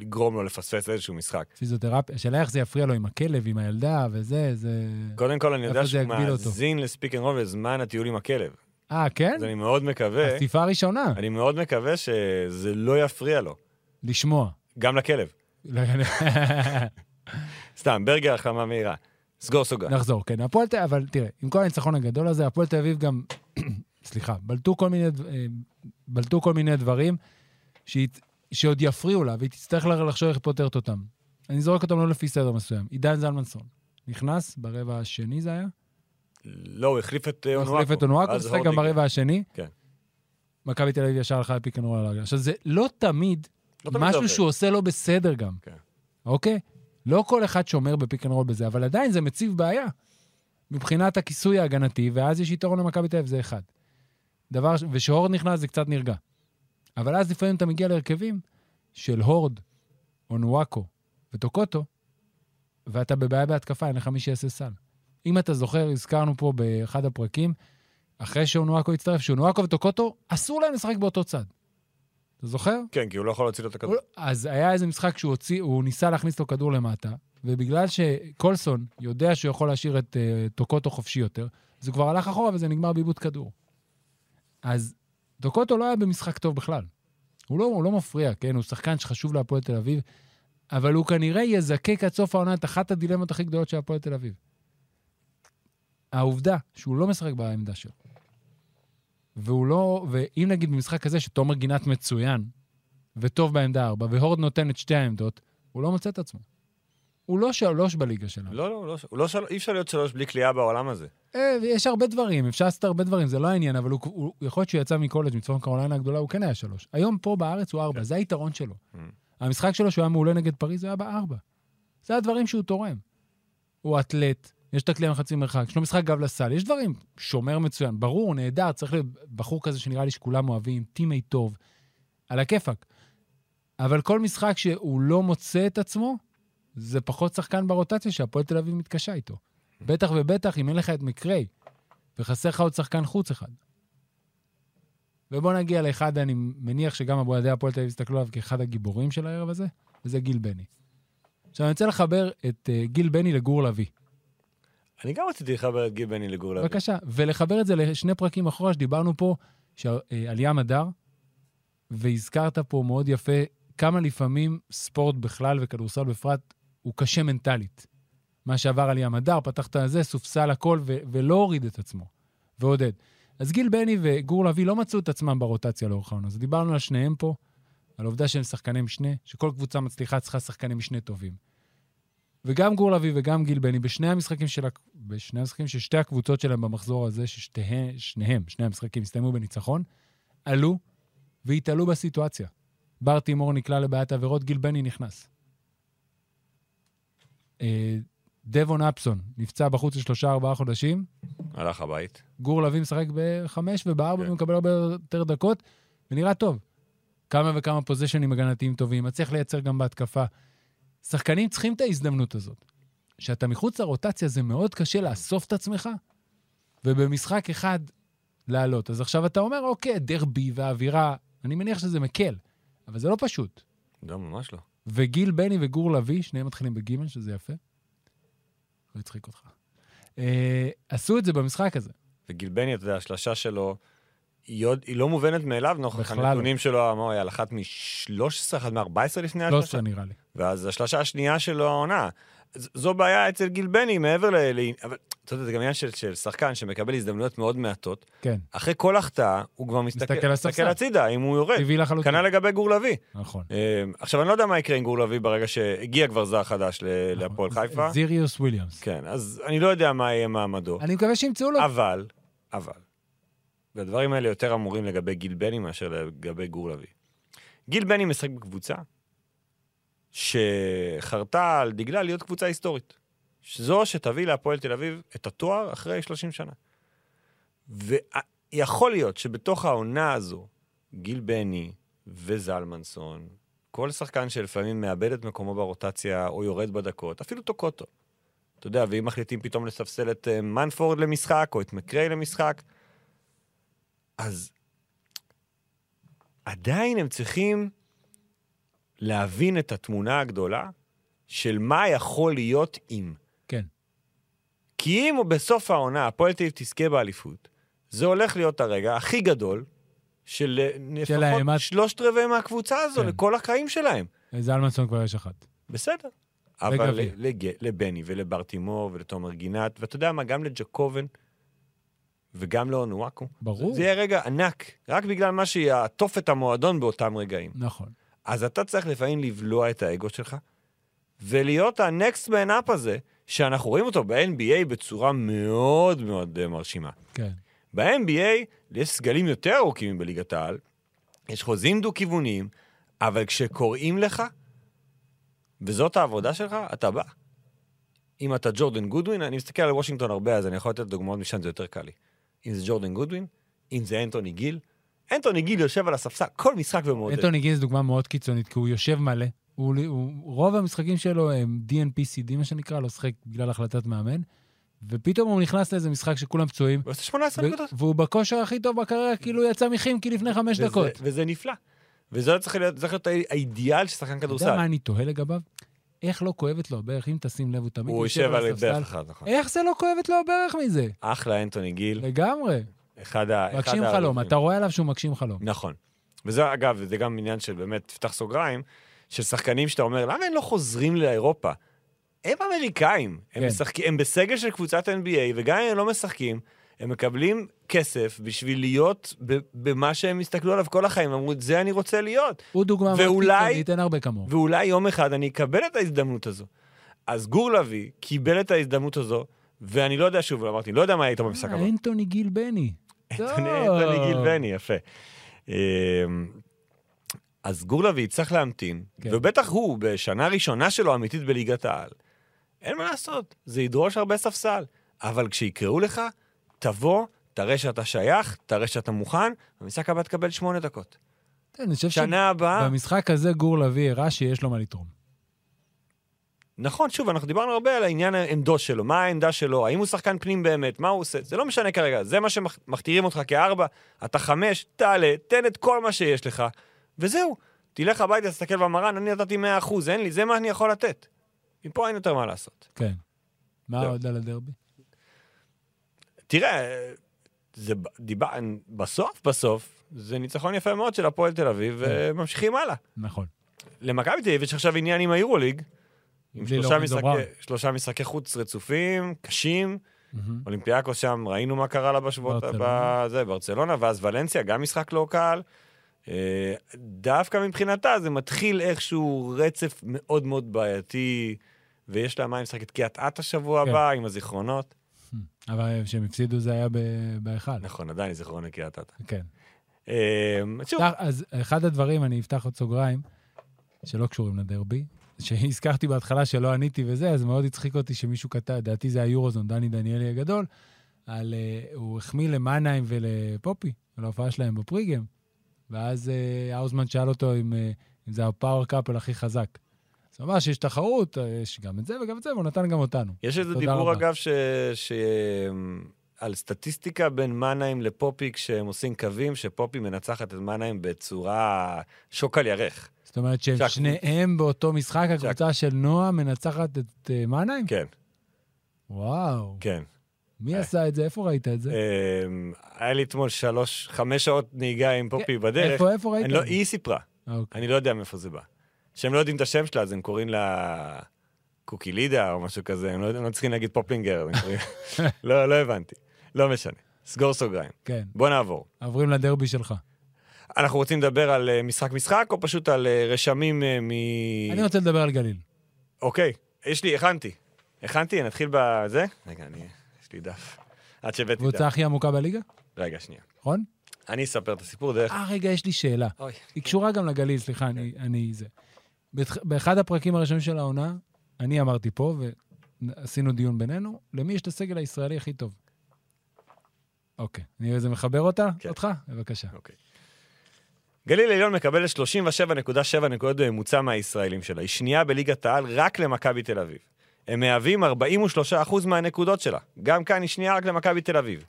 Speaker 3: יגרום לו לפספס איזשהו משחק.
Speaker 2: פיזיותרפיה, השאלה איך זה יפריע לו עם הכלב, עם הילדה וזה, זה...
Speaker 3: קודם כל, אני יודע
Speaker 2: איפה זה
Speaker 3: שהוא
Speaker 2: יגביל אותו?
Speaker 3: מאזין לספיק אנד רול בזמן הטיול עם הכלב.
Speaker 2: אה, כן?
Speaker 3: אז אני מאוד מקווה,
Speaker 2: חשיפה ראשונה,
Speaker 3: אני מאוד מקווה שזה לא יפריע לו,
Speaker 2: לשמוע.
Speaker 3: גם לכלב. סתם, ברגר החלמה מהירה. סגור סוגר.
Speaker 2: נחזור, כן. הפועל תל אבל תראה, עם כל הניצחון הגדול הזה, הפועל תל אביב גם, סליחה, בלטו כל מיני, דב- אה, בלטו כל מיני דברים שהיא, שעוד יפריעו לה, והיא תצטרך לה- לחשוב איך היא פותרת אותם. אני זורק אותם לא לפי סדר מסוים. עידן זלמנסון נכנס, ברבע השני זה היה?
Speaker 3: לא, הוא החליף את אה,
Speaker 2: הוא
Speaker 3: אונואקו.
Speaker 2: החליף את אונואקו,
Speaker 3: אז
Speaker 2: משחק גם
Speaker 3: הורדיק.
Speaker 2: ברבע השני.
Speaker 3: כן.
Speaker 2: מכבי תל אביב ישר הלכה לפיק אנד רול על הרגל. עכשיו, זה לא תמיד
Speaker 3: לא תמיד זה
Speaker 2: משהו
Speaker 3: עובד.
Speaker 2: שהוא עושה לא בסדר גם.
Speaker 3: כן.
Speaker 2: אוקיי? לא כל אחד שומר בפיק אנד רול בזה, אבל עדיין זה מציב בעיה. מבחינת הכיסוי ההגנתי, ואז יש יתרון למכבי תל אביב, זה אחד. דבר, ש- ושהורד נכנס זה קצת נרגע. אבל אז לפעמים אתה מגיע להרכבים של הורד, אונואקו וטוקוטו, ואתה בבעיה בהתקפה, אין לך מי שיעשה סל. אם אתה זוכר, הזכרנו פה באחד הפרקים, אחרי שאונואקו הצטרף, שאונואקו וטוקוטו, אסור להם לשחק באותו צד. אתה זוכר?
Speaker 3: כן, כי הוא לא יכול להוציא לו את הכדור.
Speaker 2: הוא- אז היה איזה משחק שהוא הוציא, הוא ניסה להכניס לו כדור למטה, ובגלל שקולסון יודע שהוא יכול להשאיר את אה, טוקוטו חופשי יותר, אז הוא כבר הלך אחורה וזה נגמר בעיבוד כדור. אז טוקוטו לא היה במשחק טוב בכלל. הוא לא, הוא לא מפריע, כן? הוא שחקן שחשוב להפועל תל אביב, אבל הוא כנראה יזקק עד סוף העונה את אחת הדילמות הכי גדולות של הפועל תל אביב. העובדה שהוא לא משחק בעמדה שלו. והוא לא, ואם נגיד במשחק כזה שתומר גינת מצוין, וטוב בעמדה 4, והורד נותן את שתי העמדות, הוא לא מוצא את עצמו. הוא לא שלוש בליגה שלנו.
Speaker 3: לא, לא, לא, הוא לא של... אי אפשר להיות שלוש בלי כליאה בעולם הזה.
Speaker 2: אה, יש הרבה דברים, אפשר לעשות הרבה דברים, זה לא העניין, אבל הוא, הוא, יכול להיות שהוא יצא מקולג' מצפון קרוליינה הגדולה, הוא כן היה שלוש. היום פה בארץ הוא ארבע, זה היתרון שלו.
Speaker 3: Mm.
Speaker 2: המשחק שלו, שהוא היה מעולה נגד פריז, הוא היה בארבע. זה הדברים שהוא תורם. הוא אתלט, יש את הכלי מחצי מרחק, יש לו משחק גב לסל, יש דברים. שומר מצוין, ברור, נהדר, צריך להיות בחור כזה שנראה לי שכולם אוהבים, טימי טוב, על הכיפאק. אבל כל משחק שהוא לא מוצא את עצמו, זה פחות שחקן ברוטציה שהפועל תל אביב מתקשה איתו. בטח ובטח אם אין לך את מקריי, וחסר לך עוד שחקן חוץ אחד. ובוא נגיע לאחד, אני מניח שגם אוהדי הפועל תל אביב יסתכלו עליו כאחד הגיבורים של הערב הזה, וזה גיל בני. עכשיו, אני רוצה לחבר את אה, גיל בני לגור לביא.
Speaker 3: אני גם רציתי לחבר את גיל בני לגור לאבי.
Speaker 2: בבקשה, ולחבר את זה לשני פרקים אחורה שדיברנו פה ש- אה, על ים הדר, והזכרת פה מאוד יפה כמה לפעמים ספורט בכלל וכדורסל בפרט הוא קשה מנטלית. מה שעבר על ים הדר, פתחת על זה, סופסל הכל ו- ולא הוריד את עצמו. ועודד. אז גיל בני וגור לביא לא מצאו את עצמם ברוטציה לאורך העונה. אז דיברנו על שניהם פה, על העובדה שהם שחקני משנה, שכל קבוצה מצליחה צריכה שחקני משנה טובים. וגם גור לביא וגם גיל בני, בשני המשחקים של, הק- בשני המשחקים של שתי הקבוצות שלהם במחזור הזה, ששניהם, שניהם, שני המשחקים הסתיימו בניצחון, עלו והתעלו בסיטואציה. בר תימור נקלע לבעיית עבירות, גיל בני נכנס. אה, דבון אפסון נפצע בחוץ לשלושה-ארבעה חודשים,
Speaker 3: הלך הבית.
Speaker 2: גור לביא משחק בחמש ובארבע
Speaker 3: כן.
Speaker 2: ומקבל הרבה יותר דקות, ונראה טוב. כמה וכמה פוזיישנים הגנתיים טובים, מצליח לייצר גם בהתקפה. שחקנים צריכים את ההזדמנות הזאת. כשאתה מחוץ לרוטציה זה מאוד קשה לאסוף את עצמך, ובמשחק אחד לעלות. אז עכשיו אתה אומר, אוקיי, דרבי והאווירה, אני מניח שזה מקל, אבל זה לא פשוט.
Speaker 3: לא, ממש לא.
Speaker 2: וגיל בני וגור לביא, שניהם מתחילים בגימל, שזה יפה. לא יצחיק אותך. אה, עשו את זה במשחק הזה.
Speaker 3: וגיל בני, אתה יודע, השלשה שלו, היא, עוד, היא לא מובנת מאליו נוכח
Speaker 2: בכלל לא.
Speaker 3: הנתונים שלו, מה הוא היה, על אחת מ-13, אחת מ-14 לפני
Speaker 2: לא
Speaker 3: השלשה?
Speaker 2: עושה נראה לי.
Speaker 3: ואז השלשה השנייה שלו העונה. ז- זו בעיה אצל גיל בני מעבר ל... ל... אבל אתה יודע, זה גם עניין של, של שחקן שמקבל הזדמנויות מאוד מעטות.
Speaker 2: כן.
Speaker 3: אחרי כל החטאה, הוא כבר מסתכל,
Speaker 2: מסתכל על הספסל.
Speaker 3: מסתכל הצידה, אם הוא יורד.
Speaker 2: טבעי לחלוטין.
Speaker 3: כנ"ל לגבי גור לביא.
Speaker 2: נכון.
Speaker 3: אה, עכשיו, אני לא יודע מה יקרה עם גור לביא ברגע שהגיע כבר זר חדש ל- להפועל
Speaker 2: נכון.
Speaker 3: חיפה.
Speaker 2: זיריוס וויליאמס.
Speaker 3: כן, אז אני לא יודע מה יהיה מעמדו.
Speaker 2: אני מקווה שימצאו לו.
Speaker 3: אבל, אבל, והדברים האלה יותר אמורים לגבי גיל בני מאשר לגבי גור לביא. גיל בני משחק בקבוצה שחרתה על דגלה להיות קבוצה היסטורית. זו שתביא להפועל תל אביב את התואר אחרי 30 שנה. ויכול להיות שבתוך העונה הזו, גיל בני וזלמנסון, כל שחקן שלפעמים מאבד את מקומו ברוטציה או יורד בדקות, אפילו טוקוטו. אתה יודע, ואם מחליטים פתאום לספסל את אה, מנפורד למשחק, או את מקריי למשחק, אז עדיין הם צריכים להבין את התמונה הגדולה של מה יכול להיות אם.
Speaker 2: כן.
Speaker 3: כי אם בסוף העונה הפועל תל אביב תזכה באליפות, זה הולך להיות הרגע הכי גדול של אה, לפחות
Speaker 2: האימת-
Speaker 3: שלושת רבעי מהקבוצה הזו
Speaker 2: כן.
Speaker 3: לכל החיים שלהם.
Speaker 2: זלמנסון כבר יש אחת.
Speaker 3: בסדר. אבל
Speaker 2: וגביע.
Speaker 3: ל- לג- לבני ולברטימור ולתומר גינת, ואתה יודע מה, גם לג'קובן וגם לאונוואקו.
Speaker 2: ברור.
Speaker 3: זה יהיה רגע ענק, רק בגלל מה שיעטוף את המועדון באותם רגעים.
Speaker 2: נכון.
Speaker 3: אז אתה צריך לפעמים לבלוע את האגו שלך, ולהיות ה-next man up הזה, שאנחנו רואים אותו ב-NBA בצורה מאוד מאוד אה, מרשימה.
Speaker 2: כן.
Speaker 3: ב-NBA יש סגלים יותר ארוכים מבליגת העל, יש חוזים דו-כיווניים, אבל כשקוראים לך, וזאת העבודה שלך, אתה בא. אם אתה ג'ורדן גודווין, אני מסתכל על וושינגטון הרבה, אז אני יכול לתת דוגמאות משם, זה יותר קל לי. אם זה ג'ורדן גודווין, אם זה אנטוני גיל, אנטוני גיל יושב על הספסל כל משחק ומעודד.
Speaker 2: אנטוני גינס דוגמה מאוד קיצונית, כי הוא יושב מלא. הוא, הוא, רוב המשחקים שלו הם DNPCD, מה שנקרא, לא שחק בגלל החלטת מאמן, ופתאום הוא נכנס לאיזה משחק שכולם פצועים,
Speaker 3: הוא עושה 18 נקודות.
Speaker 2: ו- והוא בכושר הכי טוב בקריירה, כאילו יצא מחימקי לפני חמש
Speaker 3: וזה-
Speaker 2: דקות.
Speaker 3: וזה נפלא. וזה לא צריך להיות, צריך להיות האי- האידיאל של שחקן
Speaker 2: אתה יודע
Speaker 3: כדורסל.
Speaker 2: מה אני תוהה לגביו? איך לא כואבת לו הברך? אם תשים לב, הוא תמיד
Speaker 3: הוא יושב על
Speaker 2: הספסל.
Speaker 3: דרך אחת, נכון.
Speaker 2: איך זה לא כואבת לו הברך מזה?
Speaker 3: אחלה אנטוני גיל,
Speaker 2: לגמרי.
Speaker 3: אחד ה... אחד
Speaker 2: מגשים חלום,
Speaker 3: האלופים.
Speaker 2: אתה רואה עליו שהוא מגשים חלום.
Speaker 3: נכון. וזה, אגב, זה גם עניין של באמת, תפתח סוגריים, של שחקנים שאתה אומר, למה הם לא חוזרים לאירופה? הם אמריקאים, הם,
Speaker 2: כן.
Speaker 3: משחקים, הם בסגל של קבוצת NBA, וגם אם הם לא משחקים, הם מקבלים כסף בשביל להיות ב- במה שהם הסתכלו עליו כל החיים, אמרו, זה אני רוצה להיות.
Speaker 2: הוא דוגמה מאוד
Speaker 3: ואולי-
Speaker 2: קיצונית, אין הרבה כמוהו.
Speaker 3: ואולי יום אחד אני אקבל את ההזדמנות הזו. אז גור לביא קיבל את ההזדמנות הזו, ואני לא יודע, שוב, אמרתי, לא יודע מה יהיה איתו במשחק
Speaker 2: אה,
Speaker 3: הבא.
Speaker 2: אנטוני גיל בני.
Speaker 3: נתוני
Speaker 2: טוב.
Speaker 3: נתוני גיל בני, יפה. אמ, אז גור לביא צריך להמתין,
Speaker 2: כן.
Speaker 3: ובטח הוא, בשנה הראשונה שלו אמיתית בליגת העל, אין מה לעשות, זה ידרוש הרבה ספסל. אבל כשיקראו לך, תבוא, תראה שאתה שייך, תראה שאתה מוכן, במשחק הבא תקבל שמונה דקות.
Speaker 2: כן, אני חושב
Speaker 3: שנה הבאה,
Speaker 2: שבמשחק הזה גור לביא הראה שיש לו מה לתרום.
Speaker 3: נכון, שוב, אנחנו דיברנו הרבה על העניין העמדות שלו, מה העמדה שלו, האם הוא שחקן פנים באמת, מה הוא עושה, זה לא משנה כרגע, זה מה שמכתירים אותך כארבע, אתה חמש, תעלה, תן את כל מה שיש לך, וזהו. תלך הביתה, תסתכל במראה, אני נתתי 100 אחוז, אין לי, זה מה אני יכול לתת. מפה אין יותר מה לעשות.
Speaker 2: כן. מה
Speaker 3: טוב.
Speaker 2: עוד על הדרבי?
Speaker 3: תראה, זה ב- דיבר, בסוף בסוף, זה ניצחון יפה מאוד של הפועל תל אביב, וממשיכים הלאה.
Speaker 2: נכון.
Speaker 3: למכבי תל אביב יש עכשיו עניין עם היורוליג, עם
Speaker 2: בלי
Speaker 3: שלושה
Speaker 2: לורנזו בראון.
Speaker 3: משחקי- שלושה משחקי חוץ רצופים, קשים.
Speaker 2: מהמם.
Speaker 3: אולימפיאקוס שם, ראינו מה קרה לה בשבועות,
Speaker 2: ברצלונה.
Speaker 3: בזה, ברצלונה, ואז ולנסיה, גם משחק לא קל. אה, דווקא מבחינתה זה מתחיל איכשהו רצף מאוד מאוד בעייתי, ויש לה מה עם משחק את קיאט את השבוע
Speaker 2: כן.
Speaker 3: הבא, עם הזיכרונות.
Speaker 2: אבל כשהם הפסידו זה היה ב- בהיכל.
Speaker 3: נכון, עדיין זיכרון לקיאט את.
Speaker 2: כן.
Speaker 3: אה, שוב,
Speaker 2: תח- אז אחד הדברים, אני אפתח עוד סוגריים, שלא קשורים לדרבי, שהזכרתי בהתחלה שלא עניתי וזה, אז מאוד הצחיק אותי שמישהו כתב, דעתי זה היורוזון, דני דניאלי הגדול, על... אה, הוא החמיא למאנהיים ולפופי, על ההופעה שלהם בפריגם, ואז אה, האוזמן שאל אותו אם, אה, אם זה הפאוור קאפל הכי חזק. אז הוא אמר שיש תחרות, אה, יש גם את זה וגם את זה, והוא נתן גם אותנו.
Speaker 3: יש איזה
Speaker 2: תודה
Speaker 3: דיבור,
Speaker 2: רבה.
Speaker 3: אגב, ש... ש... על סטטיסטיקה בין מנהיים לפופי כשהם עושים קווים, שפופי מנצחת את מנהיים בצורה שוק על ירך.
Speaker 2: זאת אומרת שהם
Speaker 3: שהקבוצ-
Speaker 2: שניהם באותו משחק, הקבוצה של נועה מנצחת את אה, מאנהיים?
Speaker 3: כן,
Speaker 2: וואו.
Speaker 3: כן.
Speaker 2: מי
Speaker 3: אה.
Speaker 2: עשה את זה? איפה ראית את זה?
Speaker 3: אמ, היה לי אתמול שלוש, חמש שעות נהיגה עם פופי בדרך.
Speaker 2: כן, איפה, איפה ראית?
Speaker 3: אני לא, היא סיפרה,
Speaker 2: אוקיי.
Speaker 3: אני לא יודע מאיפה זה בא. שהם לא יודעים את השם שלה, אז הם קוראים לה קוקילידה או משהו כזה, הם לא, הם לא צריכים להגיד פופלינגר. הם קוראים- לא, לא הבנתי. לא משנה. סגור סוגריים.
Speaker 2: כן,
Speaker 3: בוא נעבור.
Speaker 2: עוברים לדרבי שלך.
Speaker 3: אנחנו רוצים לדבר על אה, משחק-משחק, או פשוט על אה, רשמים אה, מ...
Speaker 2: אני רוצה לדבר על גליל.
Speaker 3: אוקיי, יש לי, הכנתי. הכנתי, נתחיל בזה? רגע, אני... יש לי דף. עד שהבאתי דף.
Speaker 2: קבוצה הכי עמוקה בליגה,
Speaker 3: רגע, שנייה.
Speaker 2: נכון?
Speaker 3: אני אספר את הסיפור דרך...
Speaker 2: אה, רגע, יש לי שאלה.
Speaker 3: אוי.
Speaker 2: היא קשורה גם לגליל, סליחה, אני- אני זה. בתח- באחד הפרקים הראשונים של העונה, אני אמרתי פה, ועשינו דיון בינינו, למי יש את הסגל הישראלי הכי טוב? אוקיי, נראה איזה מחבר אותה,
Speaker 3: כן.
Speaker 2: אותך? בבקשה.
Speaker 3: אוקיי. גליל עליון מקבלת 37.7 נקודות בממוצע מהישראלים שלה. היא שנייה בליגת העל רק למכבי תל אביב. הם מהווים 43% מהנקודות שלה. גם כאן היא שנייה רק למכבי תל אביב.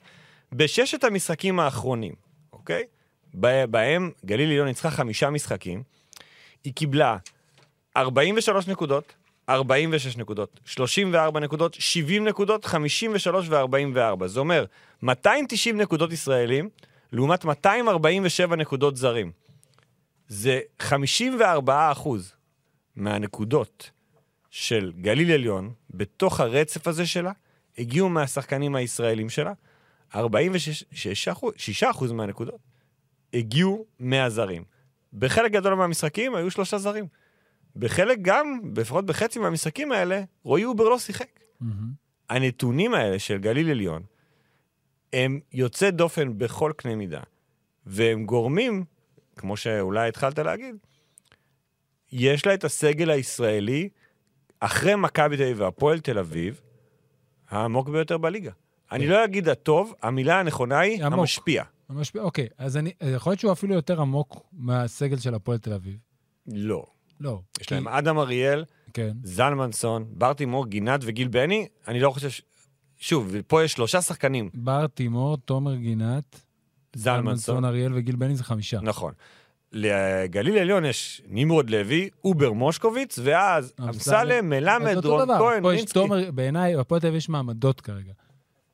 Speaker 3: בששת המשחקים האחרונים, אוקיי? בה- בהם גליל עליון ניצחה חמישה משחקים. היא קיבלה 43 נקודות, 46 נקודות, 34 נקודות, 70 נקודות, 53 ו-44. זה אומר, 290 נקודות ישראלים, לעומת 247 נקודות זרים. זה 54 אחוז מהנקודות של גליל עליון, בתוך הרצף הזה שלה, הגיעו מהשחקנים הישראלים שלה, 46 אחוז, 6 אחוז מהנקודות הגיעו מהזרים. בחלק גדול מהמשחקים היו שלושה זרים. בחלק גם, לפחות בחצי מהמשחקים האלה, רועי אובר לא שיחק.
Speaker 2: מהמם.
Speaker 3: הנתונים האלה של גליל עליון הם יוצא דופן בכל קנה מידה, והם גורמים, כמו שאולי התחלת להגיד, יש לה את הסגל הישראלי אחרי מכבי תל אביב והפועל תל אביב, העמוק ביותר בליגה. אני לא אגיד הטוב, המילה הנכונה היא
Speaker 2: כן. עמוק.
Speaker 3: המשפיע.
Speaker 2: ממש- אוקיי, אז אני, יכול להיות שהוא אפילו יותר עמוק מהסגל של הפועל תל אביב.
Speaker 3: לא.
Speaker 2: לא.
Speaker 3: יש
Speaker 2: כי-
Speaker 3: להם אה- אדם אריאל,
Speaker 2: כן.
Speaker 3: זלמנסון, ברטימור, גינת וגיל בני, אני לא חושב ש... שוב, ופה יש שלושה שחקנים,
Speaker 2: בר תימור, תומר גינת,
Speaker 3: זלמנסון,
Speaker 2: אריאל וגיל בני זה חמישה.
Speaker 3: נכון. לגליל עליון יש נמרוד לוי, אובר מושקוביץ, ואז
Speaker 2: אמסלם.
Speaker 3: אמסלם,
Speaker 2: אז
Speaker 3: מלמד,
Speaker 2: אותו
Speaker 3: רון
Speaker 2: דבר,
Speaker 3: כהן,
Speaker 2: פה יש
Speaker 3: מינסקי.
Speaker 2: תומר, בעיניי, בפועל תל אביב יש מעמדות כרגע.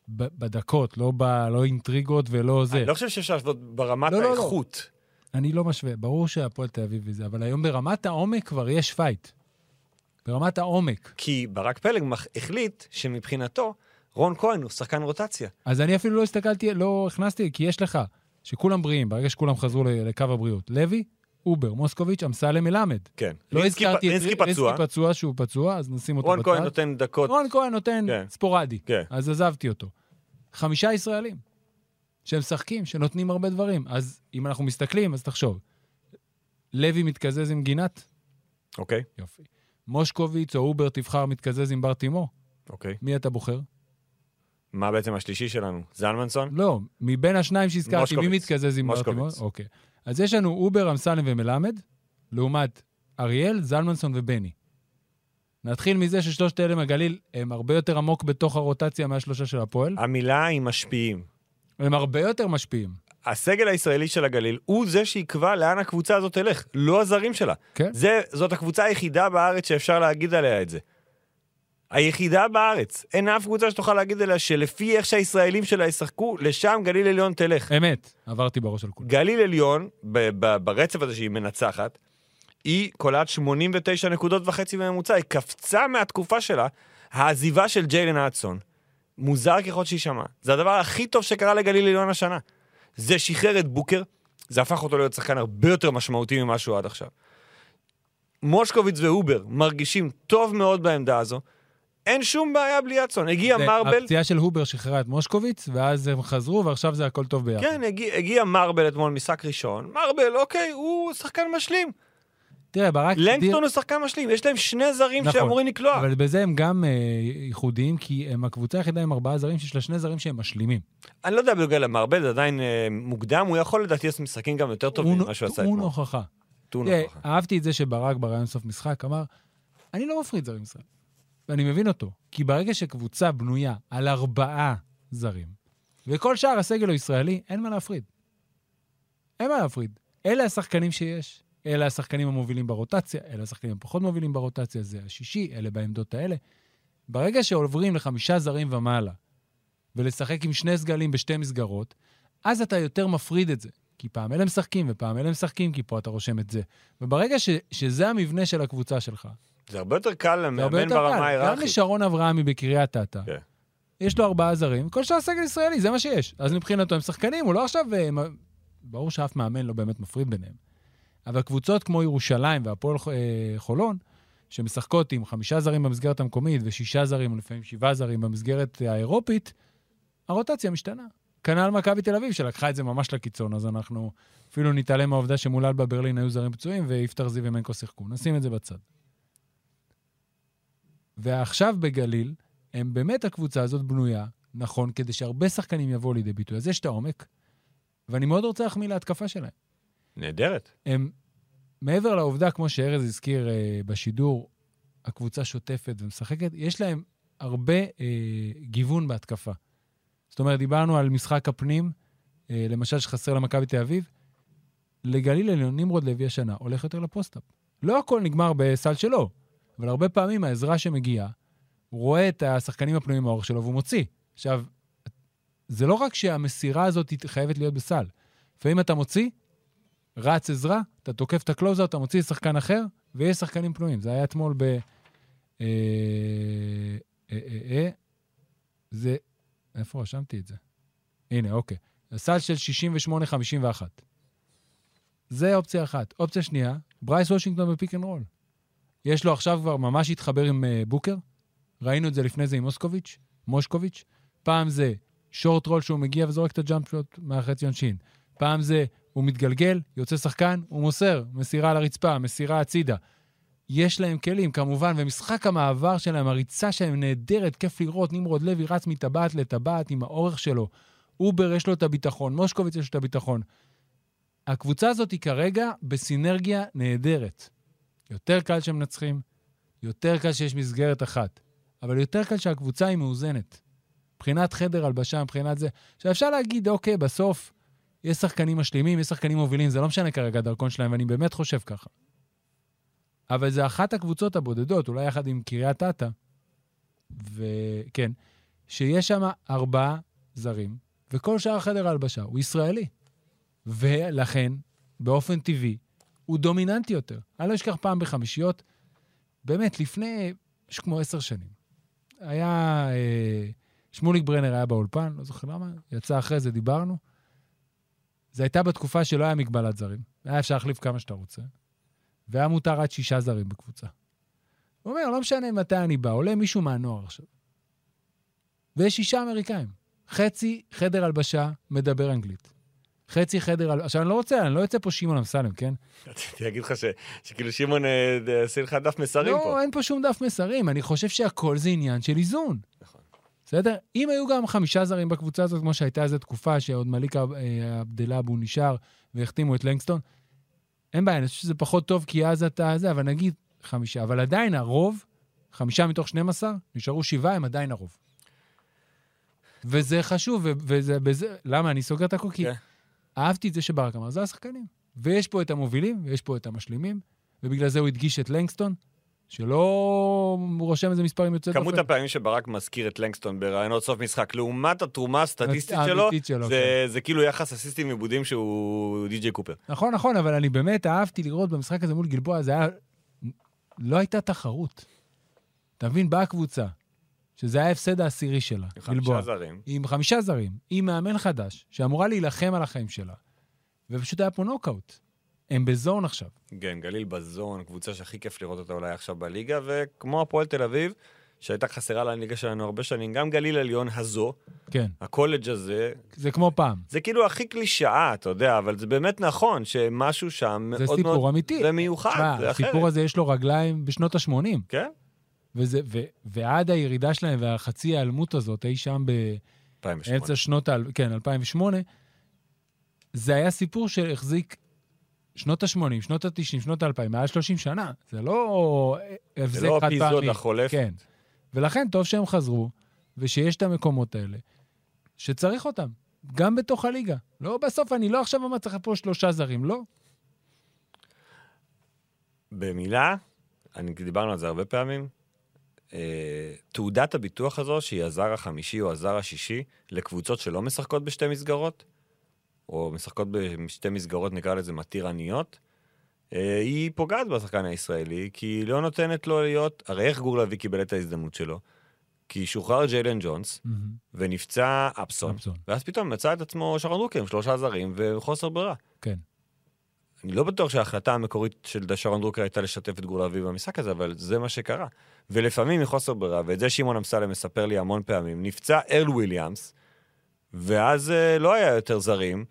Speaker 2: ב- בדקות, לא ב- לא אינטריגות ולא זה.
Speaker 3: אני לא חושב שאפשר לעשות ברמת
Speaker 2: לא, לא, לא.
Speaker 3: האיכות.
Speaker 2: אני לא משווה, ברור שהפועל תל אביב וזה, אבל היום ברמת העומק כבר יש פייט. ברמת העומק.
Speaker 3: כי ברק פלג מח- החליט שמבחינתו רון כהן הוא שחקן רוטציה.
Speaker 2: אז אני אפילו לא הסתכלתי, לא הכנסתי, כי יש לך, שכולם בריאים, ברגע שכולם חזרו ל- לקו הבריאות. לוי, אובר, מוסקוביץ', אמסלם מלמד.
Speaker 3: כן.
Speaker 2: לא הזכרתי את
Speaker 3: רינסקי פצוע,
Speaker 2: רינסקי פצוע שהוא פצוע, אז נשים אותו
Speaker 3: רון
Speaker 2: בצד.
Speaker 3: כהן נותן דקות.
Speaker 2: רון כהן נותן
Speaker 3: כן.
Speaker 2: ספורדי,
Speaker 3: כן.
Speaker 2: אז עזבתי אותו. חמישה ישראלים שמשחקים, שנותנים הרבה דברים. אז אם אנחנו מסתכלים, אז תחשוב. לוי מתקזז עם גינת?
Speaker 3: אוקיי,
Speaker 2: יופי. מושקוביץ או אובר תבחר מתקזז עם בר תימור?
Speaker 3: אוקיי.
Speaker 2: מי אתה בוחר?
Speaker 3: מה בעצם השלישי שלנו? זלמנסון?
Speaker 2: לא, מבין השניים שהזכרתי, מי
Speaker 3: מושקוביץ.
Speaker 2: מתקזז עם בר תימור?
Speaker 3: מושקוביץ.
Speaker 2: אוקיי. אז יש לנו אובר, אמסלם ומלמד, לעומת אריאל, זלמנסון ובני. נתחיל מזה ששלושת אלה מהגליל הם הרבה יותר עמוק בתוך הרוטציה מהשלושה של הפועל.
Speaker 3: המילה היא משפיעים.
Speaker 2: הם הרבה יותר משפיעים.
Speaker 3: הסגל הישראלי של הגליל הוא זה שיקבע לאן הקבוצה הזאת תלך, לא הזרים שלה.
Speaker 2: כן.
Speaker 3: זה, זאת הקבוצה היחידה בארץ שאפשר להגיד עליה את זה. היחידה בארץ. אין אף קבוצה שתוכל להגיד עליה שלפי איך שהישראלים שלה ישחקו, לשם גליל עליון תלך.
Speaker 2: אמת, עברתי בראש על כולם.
Speaker 3: גליל עליון, ב- ב- ברצף הזה שהיא מנצחת, היא קולעת 89 נקודות וחצי בממוצע, היא קפצה מהתקופה שלה, העזיבה של ג'יילן אדסון. מוזר ככל שיישמע. זה הדבר הכי טוב שקרה לגליל עליון השנה. זה שחרר את בוקר, זה הפך אותו להיות שחקן הרבה יותר משמעותי ממה שהוא עד עכשיו. מושקוביץ ואובר מרגישים טוב מאוד בעמדה הזו. אין שום בעיה בלי אדסון. הגיע
Speaker 2: זה-
Speaker 3: מרבל,
Speaker 2: הפציעה של הובר שחררה את מושקוביץ, ואז הם חזרו, ועכשיו זה הכל טוב ביחד.
Speaker 3: כן, הגיע, הגיע מרבל אתמול, משחק ראשון. מרבל, אוקיי, הוא שחקן משלים.
Speaker 2: תראה, ברק... דיר-
Speaker 3: לנגסטון הוא שחקן משלים, יש להם שני זרים
Speaker 2: נכון,
Speaker 3: שאמורים לקלוע.
Speaker 2: אבל בזה הם גם אה, ייחודיים, כי הם הקבוצה היחידה עם ארבעה זרים, שיש לה שני זרים שהם משלימים.
Speaker 3: אני לא יודע בגלל למרבל, זה עדיין אה, מוקדם, הוא יכול לדעתי לעשות משחקים גם יותר טובים
Speaker 2: טעון-
Speaker 3: ממה שהוא עשה
Speaker 2: טעון
Speaker 3: אתמול.
Speaker 2: הוכחה.
Speaker 3: טעון
Speaker 2: תראה,
Speaker 3: הוכחה.
Speaker 2: אהבתי את זה שברק בראיון סוף משחק אמר, אני לא מפריד זרים ישראל. ואני מבין אותו, כי ברגע שקבוצה בנויה על ארבעה זרים, וכל שאר הסגל הוא ישראלי, אין מה להפריד. אין מה להפריד. אלה השחקנים שיש, אלה השחקנים המובילים ברוטציה, אלה השחקנים הפחות מובילים ברוטציה, זה השישי, אלה בעמדות האלה. ברגע שעוברים לחמישה זרים ומעלה, ולשחק עם שני סגלים בשתי מסגרות, אז אתה יותר מפריד את זה. כי פעם אלה משחקים ופעם אלה משחקים, כי פה אתה רושם את זה. וברגע ש, שזה המבנה של הקבוצה שלך,
Speaker 3: זה הרבה יותר קל
Speaker 2: זה הרבה
Speaker 3: למאמן
Speaker 2: יותר
Speaker 3: כן, ברמה
Speaker 2: קל. גם
Speaker 3: ההיררכית.
Speaker 2: לשרון אברהמי בקריית אתא,
Speaker 3: כן.
Speaker 2: יש לו ארבעה זרים, כל שאר הסגל ישראלי, זה מה שיש. אז מבחינתו הם שחקנים, הוא לא עכשיו... אה, מ- ברור שאף מאמן לא באמת מפריד ביניהם. אבל קבוצות כמו ירושלים והפועל ח- אה, חולון, שמשחקות עם חמישה זרים במסגרת המקומית ושישה זרים, ולפעמים שבעה זרים במסגרת האירופית, הרוטציה משתנה. כנ"ל מכבי תל אביב, שלקחה את זה ממש לקיצון, אז אנחנו אפילו נתעלם מהעובדה שמול אלבה ברלין היו זרים פצועים, ויפתח זיו ומנקו שיחקו. נשים את זה בצד. ועכשיו בגליל, הם באמת, הקבוצה הזאת בנויה, נכון, כדי שהרבה שחקנים יבואו לידי ביטוי. אז יש את העומק, ואני מאוד רוצה להחמיא להתקפה שלהם.
Speaker 3: נהדרת.
Speaker 2: הם, מעבר לעובדה, כמו שארז הזכיר אה, בשידור, הקבוצה שוטפת ומשחקת, יש להם הרבה אה, גיוון בהתקפה. זאת אומרת, דיברנו על משחק הפנים, אה, למשל שחסר למכבי תל אביב. לגליל עליון נמרוד לוי השנה הולך יותר לפוסט-אפ. לא הכל נגמר בסל שלו, אבל הרבה פעמים העזרה שמגיעה, הוא רואה את השחקנים הפנויים מהאור שלו והוא מוציא. עכשיו, זה לא רק שהמסירה הזאת היא חייבת להיות בסל. לפעמים אתה מוציא, רץ עזרה, אתה תוקף את הקלוזר, אתה מוציא שחקן אחר, ויש שחקנים פנויים. זה היה אתמול ב... אה, אה, אה, אה, זה... איפה רשמתי את זה? הנה, אוקיי. הסל של 68-51. זה אופציה אחת. אופציה שנייה, ברייס וושינגטון בפיק אנד רול. יש לו עכשיו כבר ממש התחבר עם אה, בוקר. ראינו את זה לפני זה עם מוסקוביץ', מושקוביץ'. פעם זה שורט רול שהוא מגיע וזורק את הג'אמפ שוט מהחצי עונשין. פעם זה הוא מתגלגל, יוצא שחקן, הוא מוסר, מסירה לרצפה, מסירה הצידה. יש להם כלים, כמובן, ומשחק המעבר שלהם, הריצה שלהם נהדרת, כיף לראות. נמרוד לוי רץ מטבעת לטבעת עם האורך שלו. אובר יש לו את הביטחון, מושקוביץ יש לו את הביטחון. הקבוצה הזאת היא כרגע בסינרגיה נהדרת. יותר קל שמנצחים, יותר קל שיש מסגרת אחת, אבל יותר קל שהקבוצה היא מאוזנת. מבחינת חדר הלבשה, מבחינת זה. עכשיו, אפשר להגיד, אוקיי, בסוף יש שחקנים משלימים, יש שחקנים מובילים, זה לא משנה כרגע הדרכון שלהם, ואני באמת חושב ככה. אבל זה אחת הקבוצות הבודדות, אולי יחד עם קריית אתא, וכן, שיש שם ארבעה זרים, וכל שאר חדר ההלבשה הוא ישראלי. ולכן, באופן טבעי, הוא דומיננטי יותר. אני לא אשכח פעם בחמישיות, באמת, לפני משהו כמו עשר שנים, היה... אה, שמוליק ברנר היה באולפן, לא זוכר למה, יצא אחרי זה, דיברנו. זה הייתה בתקופה שלא היה מגבלת זרים. היה אפשר להחליף כמה שאתה רוצה, והיה מותר עד שישה זרים בקבוצה. הוא אומר, לא משנה מתי אני בא, עולה מישהו מהנוער עכשיו. ויש שישה אמריקאים. חצי חדר הלבשה מדבר אנגלית. חצי חדר... הל- עכשיו, אני לא רוצה, אני לא יוצא פה שמעון אמסלם, כן?
Speaker 3: רציתי להגיד לך ש- שכאילו שמעון אה, ד- עושה לך דף מסרים
Speaker 2: לא,
Speaker 3: פה.
Speaker 2: אין פה שום דף מסרים, אני חושב שהכל זה עניין של איזון.
Speaker 3: נכון.
Speaker 2: בסדר? אם היו גם חמישה זרים בקבוצה הזאת, כמו שהייתה איזו תקופה שעוד מליק אה, עבדלאבו נשאר והחתימו את לנגסטון, אין בעיה, אני חושב שזה פחות טוב, כי אז אתה זה, אבל נגיד חמישה. אבל עדיין הרוב, חמישה מתוך 12, נשארו שבעה, הם עדיין הרוב. וזה חשוב, ו- וזה... בזה, למה? אני סוגר את הכל, כי
Speaker 3: כן.
Speaker 2: אהבתי את זה שברק אמר, זה השחקנים. ויש פה את המובילים, ויש פה את המשלימים, ובגלל זה הוא הדגיש את לנגסטון, שלא רושם איזה מספרים יוצא דופן.
Speaker 3: כמות הפעמים שברק מזכיר את לנגסטון בראיונות סוף משחק, לעומת התרומה הסטטיסטית שלו,
Speaker 2: האמיתית שלו, כן.
Speaker 3: זה- זה כאילו יחס אסיסטים עיבודים שהוא די.ג'יי קופר.
Speaker 2: נכון, נכון, אבל אני באמת אהבתי לראות במשחק הזה מול גלבוע, זה היה... לא הייתה תחרות. אתה מבין, באה הקבוצה, שזה היה ההפסד העשירי שלה, גלבוע.
Speaker 3: חמישה זרים.
Speaker 2: עם חמישה זרים, עם מאמן חדש, שאמורה להילחם על החיים שלה, ופשוט היה פה נוקאוט. הם בזון עכשיו.
Speaker 3: כן, גליל בזון, קבוצה שהכי כיף לראות אותה אולי עכשיו בליגה, וכמו הפועל תל אביב, שהייתה חסרה לליגה שלנו הרבה שנים, גם גליל עליון הזו,
Speaker 2: כן,
Speaker 3: הקולג' הזה,
Speaker 2: זה כמו פעם.
Speaker 3: זה כאילו הכי קלישאה, אתה יודע, אבל זה באמת נכון, שמשהו שם מאוד
Speaker 2: זה
Speaker 3: מאוד...
Speaker 2: סיפור אמיתי.
Speaker 3: זה מיוחד,
Speaker 2: תשמע,
Speaker 3: זה אחרת.
Speaker 2: הסיפור הזה יש לו רגליים בשנות ה-80.
Speaker 3: כן,
Speaker 2: וזה, ו, ועד הירידה שלהם והחצי ההיעלמות הזאת, אי שם באמצע
Speaker 3: 2008.
Speaker 2: שנות ה... כן, 2008, זה היה סיפור שהחזיק שנות ה-80, שנות ה-90, שנות ה-2000, מעל 30 שנה. זה לא הבזק חד
Speaker 3: זה
Speaker 2: פעמי.
Speaker 3: לא אפיזודה חולפת.
Speaker 2: כן. ולכן טוב שהם חזרו, ושיש את המקומות האלה, שצריך אותם, גם בתוך הליגה. לא בסוף, אני לא עכשיו אומר, צריך פה שלושה זרים, לא.
Speaker 3: במילה, אני, דיברנו על זה הרבה פעמים, אה, תעודת הביטוח הזו, שהיא הזר החמישי או הזר השישי, לקבוצות שלא משחקות בשתי מסגרות, או משחקות בשתי מסגרות, נקרא לזה מתירניות, אה, היא פוגעת בשחקן הישראלי, כי היא לא נותנת לו להיות... הרי איך גור לביא קיבל את ההזדמנות שלו? כי שוחרר ג'יילן ג'ונס, ונפצע אפסון,
Speaker 2: אפסון.
Speaker 3: ואז פתאום מצא את עצמו שרון דרוקר עם שלושה זרים וחוסר ברירה.
Speaker 2: כן.
Speaker 3: אני לא בטוח שההחלטה המקורית של שרון דרוקר הייתה לשתף את גור לביא במשחק הזה, אבל זה מה שקרה. ולפעמים מחוסר ברירה, ואת זה שמעון אמסלם מספר לי המון פעמים, נפצע ארל וויליאמס, ואז אה, לא היה יותר זרים,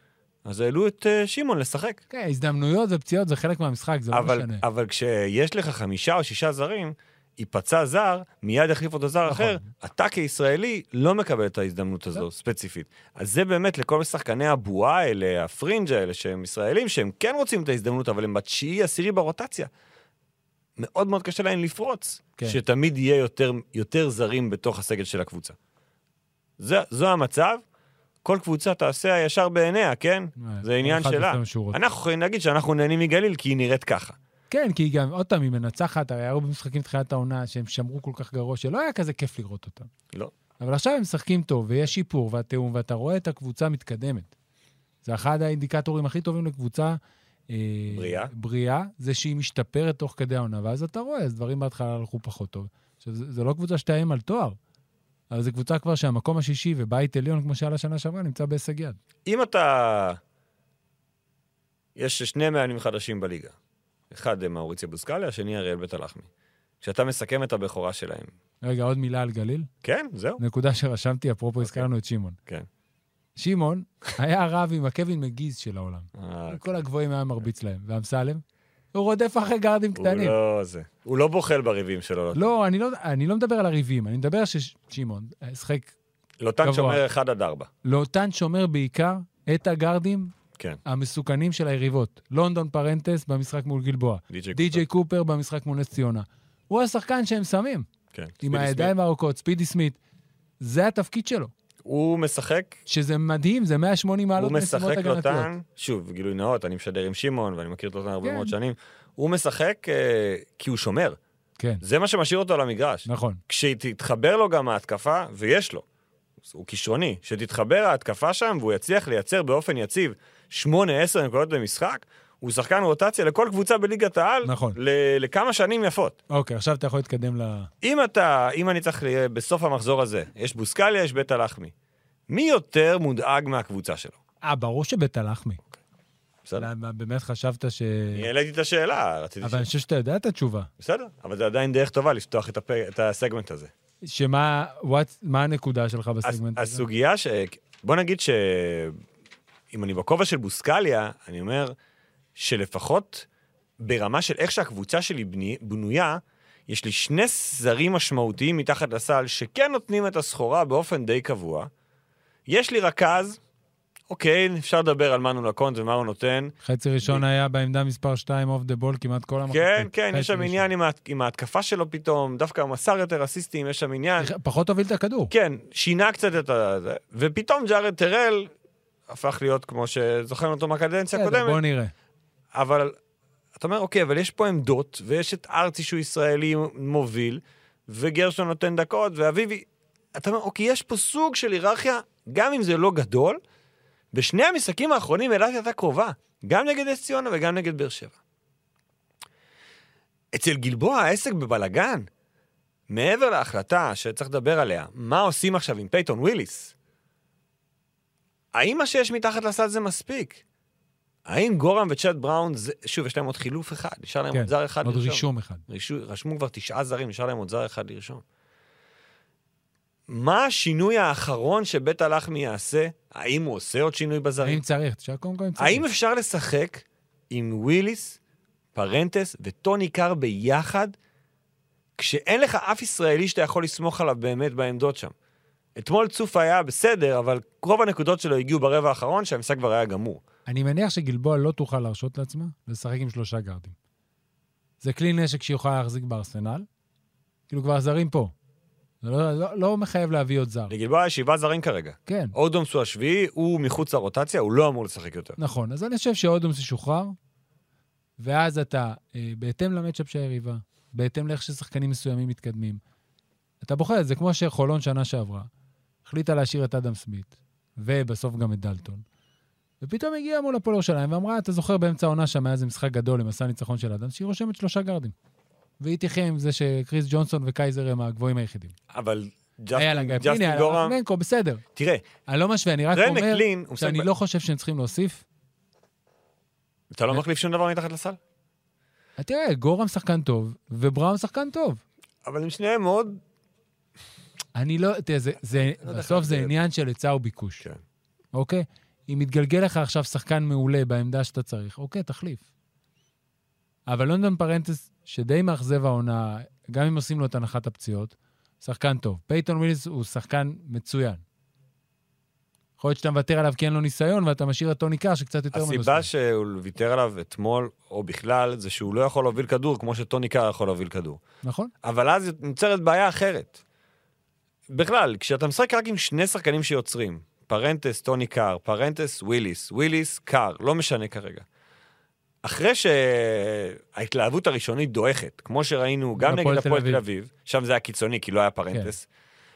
Speaker 3: אז העלו את אה, שמעון לשחק.
Speaker 2: כן, הזדמנויות ופציעות זה חלק מהמשחק, זה לא
Speaker 3: אבל,
Speaker 2: משנה.
Speaker 3: אבל כשיש לך חמישה או שישה זרים, ייפצע זר, מיד יחליף אותו זר
Speaker 2: נכון.
Speaker 3: אחר, אתה כישראלי לא מקבל את ההזדמנות
Speaker 2: לא.
Speaker 3: הזו ספציפית. אז זה באמת לכל שחקני הבועה האלה, הפרינג' האלה, שהם ישראלים, שהם כן רוצים את ההזדמנות, אבל הם בתשיעי, עשירי ברוטציה. מאוד מאוד קשה להם לפרוץ,
Speaker 2: כן.
Speaker 3: כן. שתמיד יהיה יותר, יותר זרים בתוך הסגל של הקבוצה. זה, זו המצב, כל קבוצה תעשה הישר בעיניה, כן?
Speaker 2: אה,
Speaker 3: זה עניין
Speaker 2: כל אחד
Speaker 3: שלה.
Speaker 2: עושה מה שהוא רוצה.
Speaker 3: אנחנו יכולים להגיד שאנחנו נהנים מגליל כי היא נראית ככה.
Speaker 2: כן, כי היא גם, עוד פעם, היא מנצחת, הרי היו במשחקים תחילת העונה שהם שמרו כל כך גרוע, שלא היה כזה כיף לראות אותם.
Speaker 3: לא.
Speaker 2: אבל עכשיו הם משחקים טוב, ויש שיפור והתיאום, ואתה רואה את הקבוצה מתקדמת. זה אחד האינדיקטורים הכי טובים לקבוצה... אה,
Speaker 3: בריאה.
Speaker 2: בריאה, זה שהיא משתפרת תוך כדי העונה, ואז אתה רואה, אז דברים בהתחלה הלכו פחות טוב. עכשיו, זו זו לא קבוצה שתאיים על תואר, אבל זו קבוצה כבר שהמקום השישי ובית עליון, כמו שהיה לה שנה שעברה, נמצא בהישג יד.
Speaker 3: אם אתה... יש שני מאמנים חדשים בליגה. אחד אה, מאוריציה בוסקאלי, השני אריאל בית הלחמי. כשאתה מסכם את הבכורה שלהם.
Speaker 2: רגע, עוד מילה על גליל.
Speaker 3: כן, זהו.
Speaker 2: נקודה שרשמתי, אפרופו הזכרנו את שמעון.
Speaker 3: כן.
Speaker 2: שמעון היה רב עם הקווין מגיז של העולם.
Speaker 3: אה, כן.
Speaker 2: כל הגבוהים היה מרביץ להם. ואמסלם? הוא רודף אחרי גארדים
Speaker 3: הוא
Speaker 2: קטנים.
Speaker 3: לא זה. הוא לא בוחל בריבים שלו.
Speaker 2: לא, אני לא, אני לא מדבר על הריבים, אני מדבר ששמעון שחק
Speaker 3: לוטן
Speaker 2: גבוה.
Speaker 3: שומר 1 עד 4.
Speaker 2: לאותן שומר בעיקר את הגארדים
Speaker 3: כן.
Speaker 2: המסוכנים של היריבות. לונדון פרנטס במשחק מול גלבוע.
Speaker 3: די.ג'יי
Speaker 2: די.ג'יי קופר במשחק מול נס ציונה. הוא השחקן שהם שמים.
Speaker 3: כן.
Speaker 2: עם
Speaker 3: ספידי
Speaker 2: הידיים הארוכות, ספידי סמית. זה התפקיד שלו.
Speaker 3: הוא משחק,
Speaker 2: שזה מדהים, זה 180 מעלות
Speaker 3: הוא
Speaker 2: משימות
Speaker 3: משחק
Speaker 2: הגנתיות.
Speaker 3: לוטן, שוב, גילוי נאות, אני משדר עם שמעון ואני מכיר את לוטן הרבה
Speaker 2: כן.
Speaker 3: מאוד שנים. הוא משחק אה, כי הוא שומר,
Speaker 2: כן,
Speaker 3: זה מה שמשאיר אותו על המגרש.
Speaker 2: נכון.
Speaker 3: כשתתחבר לו גם ההתקפה, ויש לו, הוא כישרוני, שתתחבר ההתקפה שם והוא יצליח לייצר באופן יציב 8-10 נקודות במשחק, הוא שחקן רוטציה לכל קבוצה בליגת העל,
Speaker 2: נכון.
Speaker 3: ל- לכמה שנים יפות.
Speaker 2: אוקיי, עכשיו אתה יכול להתקדם ל...
Speaker 3: אם אתה, אם אני צריך, ל- בסוף המחזור הזה, יש בוסקליה, יש בית הלחמי. מי יותר מודאג מהקבוצה שלו?
Speaker 2: אה, ברור שבית הלחמי.
Speaker 3: בסדר.
Speaker 2: למה, באמת חשבת ש...
Speaker 3: אני העליתי את השאלה, רציתי ש...
Speaker 2: אבל אני חושב שאתה יודע את התשובה.
Speaker 3: בסדר, אבל זה עדיין דרך טובה לפתוח את, הפ... את הסגמנט הזה.
Speaker 2: שמה what, מה הנקודה שלך
Speaker 3: הס...
Speaker 2: בסגמנט הזה?
Speaker 3: הסוגיה ש... בוא נגיד ש... אם אני בכובע של בוסקליה, אני אומר שלפחות ברמה של איך שהקבוצה שלי בני... בנויה, יש לי שני זרים משמעותיים מתחת לסל שכן נותנים את הסחורה באופן די קבוע. יש לי רכז, אוקיי, אפשר לדבר על מה נונקונט ומה הוא נותן.
Speaker 2: חצי ראשון היה בעמדה מספר 2 אוף דה בול כמעט כל המחצית.
Speaker 3: כן, כן,
Speaker 2: חצי
Speaker 3: יש שם
Speaker 2: ראשון.
Speaker 3: עניין עם, ההת- עם ההתקפה שלו פתאום, דווקא הוא מסר יותר אסיסטים, יש שם עניין.
Speaker 2: אה, פחות הוביל את הכדור.
Speaker 3: כן, שינה קצת את ה... זה, ופתאום ג'ארד טרל הפך להיות כמו שזוכרנו אותו מהקדנציה
Speaker 2: בסדר, בוא
Speaker 3: הקודמת,
Speaker 2: נראה.
Speaker 3: אבל אתה אומר, אוקיי, אבל יש פה עמדות, ויש את ארצי שהוא ישראלי מוביל, וגרשון נותן דקות, ואביבי... אתה אומר, אוקיי, יש פה סוג של היררכיה, גם אם זה לא גדול, בשני המשחקים האחרונים אילת הייתה קרובה, גם נגד אס ציונה וגם נגד באר שבע. אצל גלבוע העסק בבלגן. מעבר להחלטה שצריך לדבר עליה, מה עושים עכשיו עם פייתון וויליס? האם מה שיש מתחת לסל זה מספיק? האם גורם וצ'אט בראון, זה... שוב, יש להם עוד חילוף אחד, נשאר להם
Speaker 2: כן,
Speaker 3: עוד זר אחד
Speaker 2: עוד
Speaker 3: לרשום.
Speaker 2: רישום אחד.
Speaker 3: רישו, רשמו כבר תשעה זרים, נשאר להם עוד זר אחד לרשום. מה השינוי האחרון שבית הלחמי יעשה? האם הוא עושה עוד שינוי בזרים?
Speaker 2: האם צריך? תשאל קודם כל אם צריך.
Speaker 3: האם אפשר לשחק עם וויליס, פרנטס וטוני קאר ביחד, כשאין לך אף ישראלי שאתה יכול לסמוך עליו באמת בעמדות שם? אתמול צוף היה בסדר, אבל רוב הנקודות שלו הגיעו ברבע האחרון, שהמשחק כבר היה גמור.
Speaker 2: אני מניח שגלבוע לא תוכל להרשות לעצמה לשחק עם שלושה גארדים. זה כלי נשק שהיא יכולה להחזיק בארסנל. כאילו כבר זרים פה. זה לא, לא, לא מחייב להביא עוד זר.
Speaker 3: לגלבוע יש שבעה זרים כרגע.
Speaker 2: כן,
Speaker 3: אודומס הוא השביעי, הוא מחוץ לרוטציה, הוא לא אמור לשחק יותר.
Speaker 2: נכון. אז אני חושב שאודומס ישוחרר, ואז אתה, אה, בהתאם למצ'אפ של היריבה, בהתאם לאיך ששחקנים מסוימים מתקדמים, אתה בוחר את זה כמו שחולון שנה שעברה, החליטה להשאיר את אדם סמית, ובסוף גם את דלטון. ופתאום הגיעה מול הפועל ירושלים ואמרה, אתה זוכר באמצע העונה שם היה איזה משחק גדול למסע ניצחון של אדם, שהיא רושמת שלושה גארדים. והיא תחיה עם זה שקריס ג'ונסון וקייזר הם הגבוהים היחידים.
Speaker 3: אבל
Speaker 2: היה לה
Speaker 3: ג'סטין
Speaker 2: גם
Speaker 3: ג'סטין
Speaker 2: פיני, היה לה
Speaker 3: גורם,
Speaker 2: מנקו, בסדר.
Speaker 3: תראה,
Speaker 2: אני לא משווה, אני רק
Speaker 3: רמק
Speaker 2: אומר
Speaker 3: לין, הוא
Speaker 2: שאני
Speaker 3: משחק ב-
Speaker 2: לא חושב שהם צריכים להוסיף.
Speaker 3: אתה לא מחליף שום דבר מתחת לסל?
Speaker 2: תראה, גורם שחקן טוב, ובראון שחקן טוב.
Speaker 3: אבל הם שניהם מאוד...
Speaker 2: אני לא, תראה, זה, זה,
Speaker 3: לא יודע
Speaker 2: בסוף
Speaker 3: איך
Speaker 2: זה
Speaker 3: להגדיר את
Speaker 2: עניין של היצע וביקוש.
Speaker 3: כן.
Speaker 2: אוקיי? אם מתגלגל לך עכשיו שחקן מעולה בעמדה שאתה צריך, אוקיי, תחליף. אבל לונדון פרנטס, שדי מאכזב העונה, גם אם עושים לו את הנחת הפציעות, שחקן טוב. פייתון ווילס הוא שחקן מצוין. יכול להיות שאתה מוותר עליו כי אין לו ניסיון, ואתה משאיר את טוני קאר שקצת יותר מנוסה.
Speaker 3: הסיבה שהוא ויתר עליו אתמול, או בכלל, זה שהוא לא יכול להוביל כדור כמו שטוני קאר יכול להוביל כדור.
Speaker 2: נכון?
Speaker 3: אבל אז נוצרת בעיה אחרת. בכלל, כשאתה משחק רק עם שני שחקנים שיוצרים, פרנטס, טוני קאר, פרנטס, וויליס, וויליס, קאר, לא משנה כרגע. אחרי שההתלהבות הראשונית דועכת, כמו שראינו גם
Speaker 2: הפועל
Speaker 3: נגד
Speaker 2: תל
Speaker 3: הפועל תל
Speaker 2: אביב. כן.
Speaker 3: אביב, שם זה היה קיצוני כי לא היה פרנטס,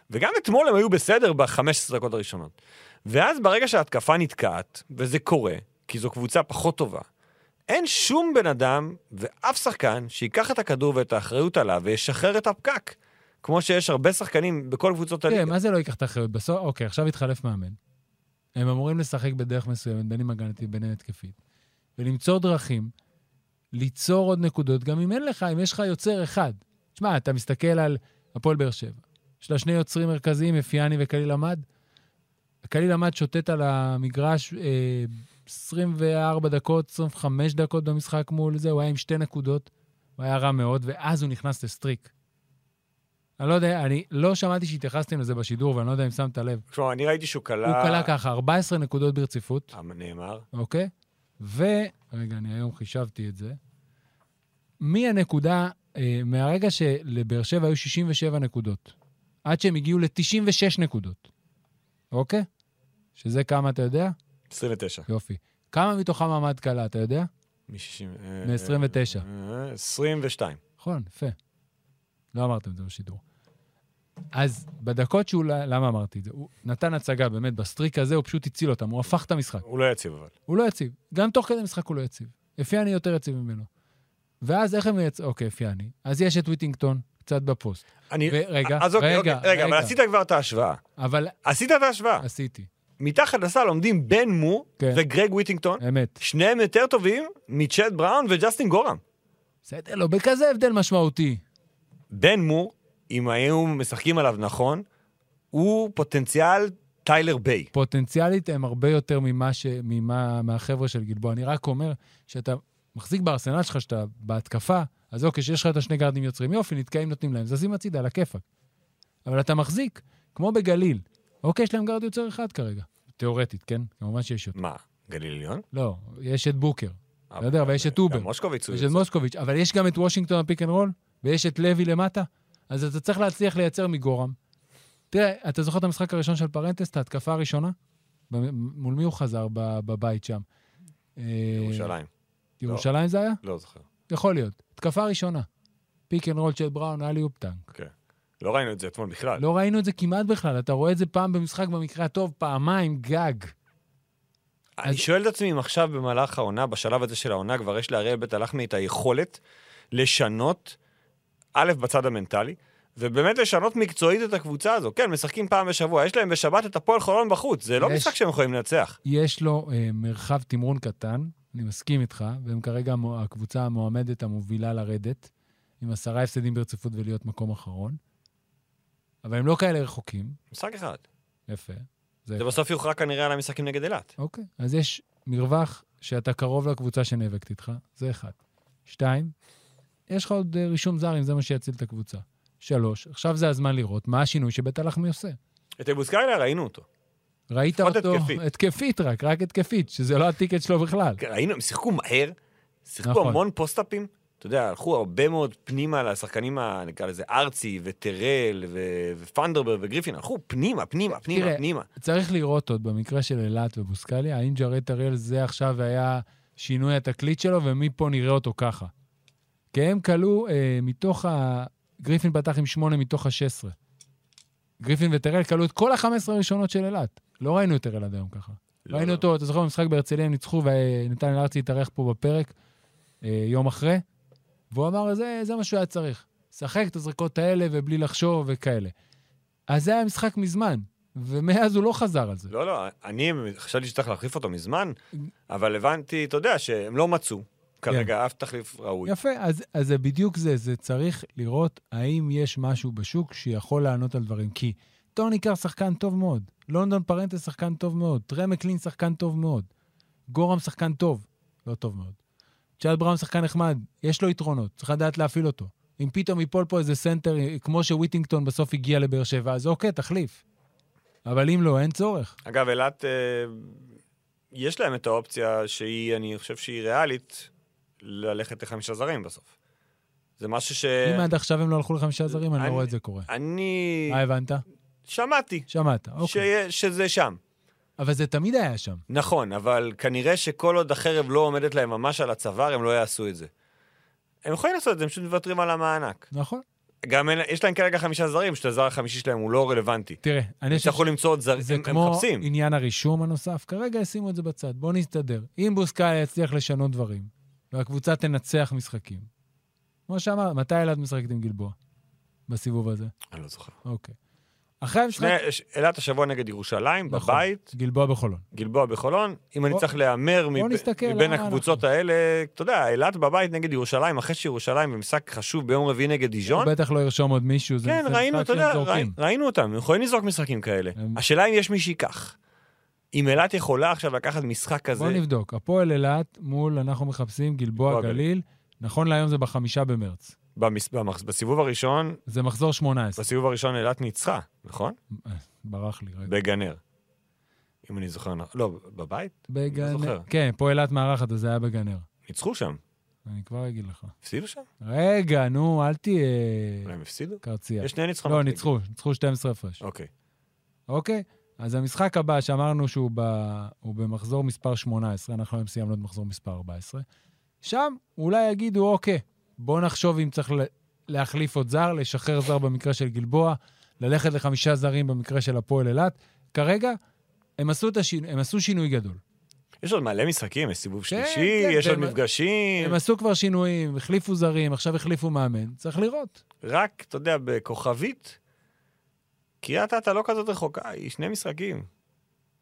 Speaker 3: וגם אתמול הם היו בסדר ב-15 דקות הראשונות. ואז ברגע שההתקפה נתקעת, וזה קורה, כי זו קבוצה פחות טובה, אין שום בן אדם ואף שחקן שיקח את הכדור ואת האחריות עליו וישחרר את הפקק, כמו שיש הרבה שחקנים בכל קבוצות
Speaker 2: תראה,
Speaker 3: הליגה.
Speaker 2: מה זה לא ייקח את האחריות? בסוף, אוקיי, עכשיו התחלף מאמן. הם אמורים לשחק בדרך מסוימת, בין אם הגנתית בין אם התקפית, ולמצוא דרכים ליצור עוד נקודות, גם אם אין לך, אם יש לך יוצר אחד. תשמע, אתה מסתכל על הפועל באר שבע, יש לה שני יוצרים מרכזיים, אפיאני וקליל עמד. קליל עמד שוטט על המגרש אה, 24 דקות, 25 דקות במשחק מול זה, הוא היה עם שתי נקודות, הוא היה רע מאוד, ואז הוא נכנס לסטריק. אני לא יודע, אני לא שמעתי שהתייחסתם לזה בשידור, ואני לא יודע אם שמת לב.
Speaker 3: כלומר, אני ראיתי שהוא כלה...
Speaker 2: הוא כלה ככה 14 נקודות ברציפות,
Speaker 3: נאמר.
Speaker 2: אוקיי? ו... רגע, אני היום חישבתי את זה. מהנקודה, אה, מהרגע שלבאר שבע היו 67 נקודות, עד שהם הגיעו ל-96 נקודות, אוקיי? שזה כמה, אתה יודע?
Speaker 3: 29.
Speaker 2: יופי. כמה מתוכם עמד קלה, אתה יודע?
Speaker 3: מ-60...
Speaker 2: מ-29.
Speaker 3: אה, 22.
Speaker 2: נכון, יפה. לא אמרתם את זה בשידור. אז בדקות שהוא, למה אמרתי את זה? הוא נתן הצגה, באמת, בסטריק הזה הוא פשוט הציל אותם, הוא הפך את המשחק.
Speaker 3: הוא לא יציב אבל.
Speaker 2: הוא לא יציב. גם תוך כדי משחק הוא לא יציב. אפיאני יותר יציב ממנו. ואז איך הם יצאו? אוקיי, אפיאני. אז יש את וויטינגטון, קצת בפוסט.
Speaker 3: אני...
Speaker 2: ורגע,
Speaker 3: אז אוקיי,
Speaker 2: רגע,
Speaker 3: אוקיי, רגע, אבל
Speaker 2: רגע.
Speaker 3: עשית כבר את ההשוואה.
Speaker 2: אבל
Speaker 3: עשית את ההשוואה.
Speaker 2: עשיתי,
Speaker 3: מתחת לסל עומדים בן מו
Speaker 2: כן.
Speaker 3: וגרג וויטינגטון,
Speaker 2: אמת.
Speaker 3: שניהם יותר טובים מצ'אט בראון וג'סטין גורם.
Speaker 2: בסדר, לא בכזה הבדל משמעותי.
Speaker 3: בן מו, אם היו משחקים עליו נכון, הוא פוטנציאל טיילר ביי.
Speaker 2: פוטנציאלית הם הרבה יותר ממה ש... ממה... מהחבר'ה של גלבוע. אני רק אומר שאתה מחזיק בארסנל שלך, שאתה בהתקפה, אז אוקיי, שיש לך את השני גארדים יוצרים, יופי, נתקעים, נותנים להם, זזים הצידה, על הכיפאק. אבל אתה מחזיק, כמו בגליל. אוקיי, יש להם גארד יוצר אחד כרגע. תיאורטית, כן? כמובן שיש יותר.
Speaker 3: מה, גליל עליון? אה,
Speaker 2: לא, יש את בוקר, בסדר, ויש את טובר.
Speaker 3: גם מושקוביץ הוא
Speaker 2: יש את
Speaker 3: יוצא.
Speaker 2: מוסקוביץ', אבל יש גם את וושינגטון הפיק אנד רול, ויש את לוי למטה, אז אתה צריך להצליח לייצר מגורם. תראה, אתה זוכר את המשחק הראשון של פרנטס, את ההתקפה הראשונה? ב- מול מי הוא חזר ב- בבית שם? אה,
Speaker 3: ירושלים,
Speaker 2: ירושלים זה היה?
Speaker 3: לא זוכר.
Speaker 2: יכול להיות. התקפה ראשונה. פיק אנד רול של בראון, היה לי אופ טנק.
Speaker 3: לא ראינו את זה אתמול בכלל.
Speaker 2: לא ראינו את זה כמעט בכלל, אתה רואה את זה פעם במשחק במקרה הטוב, פעמיים גג.
Speaker 3: אני שואל את עצמי אם עכשיו במהלך העונה, בשלב הזה של העונה, כבר יש לאריאל בית הלחמי את היכולת לשנות, א', בצד המנטלי, ובאמת לשנות מקצועית את הקבוצה הזו. כן, משחקים פעם בשבוע, יש להם בשבת את הפועל חולון בחוץ, זה לא
Speaker 2: יש.
Speaker 3: משחק שהם יכולים לנצח.
Speaker 2: יש לו אה, מרחב תמרון קטן, אני מסכים איתך, והם כרגע המו- הקבוצה המועמדת המובילה לרדת, עם עשרה הפסדים ברציפות ולהיות מקום אחרון. אבל הם לא כאלה רחוקים,
Speaker 3: משחק אחד.
Speaker 2: יפה.
Speaker 3: זה בסוף יוכרע כנראה על המשחקים נגד אילת.
Speaker 2: אוקיי, אז יש מרווח שאתה קרוב לקבוצה שנאבקת איתך, זה אחד. שתיים, יש לך עוד אה, רישום זר, אם זה מה שיציל את הקבוצה. שלוש, עכשיו זה הזמן לראות מה השינוי שבית הלחמי עושה.
Speaker 3: את אבוסקאילה ראינו אותו.
Speaker 2: ראית
Speaker 3: לפחות
Speaker 2: אותו...
Speaker 3: התקפית.
Speaker 2: התקפית רק, רק התקפית, שזה לא הטיקט שלו בכלל.
Speaker 3: כן, ראינו, הם שיחקו מהר, שיחקו
Speaker 2: נכון.
Speaker 3: המון פוסט-אפים. אתה יודע, הלכו הרבה מאוד פנימה לשחקנים, ה- נקרא לזה ארצי וטרל ו- ופנדרברג וגריפין, הלכו פנימה, פנימה, פנימה,
Speaker 2: תראה,
Speaker 3: פנימה.
Speaker 2: צריך לראות עוד במקרה של אילת ובוסקליה, האם ג'רד אריאל זה עכשיו היה שינוי התקליט שלו, ומפה נראה אותו ככה. כי הם כלו אה, מתוך ה... גריפין פתח עם שמונה מתוך ה-16. גריפין וטרל כלו את כל ה-15 הראשונות של אילת. לא ראינו את טרל עד היום ככה.
Speaker 3: לא,
Speaker 2: ראינו
Speaker 3: לא.
Speaker 2: אותו, אתה זוכר במשחק בהרצליה, הם ניצחו ונתן ארצי התארח פה בפרק אה, יום אחרי, והוא אמר, זה, זה מה שהוא היה צריך. שחק את הזריקות האלה ובלי לחשוב וכאלה. אז זה היה משחק מזמן, ומאז הוא לא חזר על זה.
Speaker 3: לא, לא, אני חשבתי שצריך להחליף אותו מזמן, אבל הבנתי, אתה יודע, שהם לא מצאו כרגע אף תחליף ראוי.
Speaker 2: כן. יפה, אז, אז זה בדיוק זה, זה צריך לראות האם יש משהו בשוק שיכול לענות על דברים. כי טוני קר שחקן טוב מאוד, לונדון פרנטס שחקן טוב מאוד, טרי מקלין שחקן טוב מאוד, גורם שחקן טוב, לא טוב מאוד. צ'אד בראון שחקן נחמד, יש לו יתרונות, צריך לדעת להפעיל אותו. אם פתאום ייפול פה איזה סנטר, אה, כמו שוויטינגטון בסוף הגיע לבאר שבע, אז אוקיי, תחליף. אבל אם לא, אין צורך.
Speaker 3: אגב, אילת, אה, יש להם את האופציה שהיא, אני חושב שהיא ריאלית, ללכת לחמישה זרים בסוף. זה משהו ש...
Speaker 2: אם עד עכשיו הם לא הלכו לחמישה זרים, אני לא
Speaker 3: אה, אני-
Speaker 2: רואה את זה קורה.
Speaker 3: אני
Speaker 2: מה הבנת?
Speaker 3: שמעתי
Speaker 2: שמעת, אוקיי.
Speaker 3: שיה- שזה שם.
Speaker 2: אבל זה תמיד היה שם.
Speaker 3: נכון, אבל כנראה שכל עוד החרב לא עומדת להם ממש על הצוואר, הם לא יעשו את זה. הם יכולים לעשות את זה, הם פשוט מוותרים על המענק.
Speaker 2: נכון.
Speaker 3: גם אין, יש להם כרגע חמישה זרים, שאת הזר החמישי שלהם הוא לא רלוונטי.
Speaker 2: תראה, אני
Speaker 3: הם
Speaker 2: חושב
Speaker 3: יצטרכו למצוא עוד זרים,
Speaker 2: זה
Speaker 3: הם הם
Speaker 2: כמו
Speaker 3: מחפשים.
Speaker 2: עניין הרישום הנוסף, כרגע ישימו את זה בצד, בואו נסתדר. אם בוסקאי יצליח לשנות דברים, והקבוצה תנצח משחקים. כמו שאמר, מתי אילת משחקת עם גלבוע? בסיבוב הזה?
Speaker 3: אני לא זוכר.
Speaker 2: אוקיי. אחרי המשחק,
Speaker 3: שני- ש- אילת השבוע נגד ירושלים,
Speaker 2: נכון.
Speaker 3: בבית,
Speaker 2: גלבוע בחולון.
Speaker 3: גלבוע בחולון. אם אני
Speaker 2: בוא-
Speaker 3: צריך להמר מב-
Speaker 2: נסתכל
Speaker 3: מבין
Speaker 2: לאן
Speaker 3: הקבוצות האלה, אתה יודע, אילת בבית נגד ירושלים, אחרי שירושלים במשחק חשוב ביום רביעי נגד
Speaker 2: הוא
Speaker 3: דיז'ון,
Speaker 2: בטח לא ירשום עוד מישהו, זה
Speaker 3: כן,
Speaker 2: זה
Speaker 3: ראינו,
Speaker 2: משחק
Speaker 3: אתה יודע,
Speaker 2: שהם זורקים.
Speaker 3: ראי- ראינו אותם, הם יכולים לזרוק משחקים כאלה.
Speaker 2: הם-
Speaker 3: השאלה אם יש מי שייקח. אם אילת יכולה עכשיו לקחת משחק כזה,
Speaker 2: בואו נבדוק, הפועל אילת מול אנחנו מחפשים גלבוע
Speaker 3: גלבוע
Speaker 2: גליל, נכון להיום זה בחמישה במרץ.
Speaker 3: במס- במחס- בסיבוב הראשון,
Speaker 2: זה מחזור 18.
Speaker 3: בסיבוב הראשון אילת ניצחה, נכון?
Speaker 2: ברח לי רגע.
Speaker 3: בגנר. אם אני זוכר נכון. לא, בבית?
Speaker 2: בגנר.
Speaker 3: זוכר.
Speaker 2: כן, פה אילת מארחת, אז זה היה בגנר.
Speaker 3: ניצחו שם.
Speaker 2: אני כבר אגיד לך.
Speaker 3: הפסידו שם?
Speaker 2: רגע, נו, אל תהיה
Speaker 3: אולי הם הפסידו?
Speaker 2: קרצייה.
Speaker 3: יש שני ניצחונות.
Speaker 2: כן. לא,
Speaker 3: נגד.
Speaker 2: ניצחו, ניצחו 12 הפרש.
Speaker 3: אוקיי.
Speaker 2: אוקיי? אז המשחק הבא שאמרנו שהוא ב... הוא במחזור מספר 18, אנחנו היום סיימנו את מחזור מספר 14, שם אולי יגידו, אוקיי, בואו נחשוב אם צריך ל- להחליף עוד זר, לשחרר זר במקרה של גלבוע, ללכת לחמישה זרים במקרה של הפועל אילת. כרגע, הם עשו, את השינ... הם עשו שינוי גדול.
Speaker 3: יש עוד מלא משחקים, יש סיבוב שלישי,
Speaker 2: כן,
Speaker 3: יש עוד
Speaker 2: והם-
Speaker 3: מפגשים.
Speaker 2: הם עשו כבר שינויים, החליפו זרים, עכשיו החליפו מאמן, צריך לראות.
Speaker 3: רק, אתה יודע, בכוכבית, קריית אתא לא כזאת רחוקה, היא שני משחקים.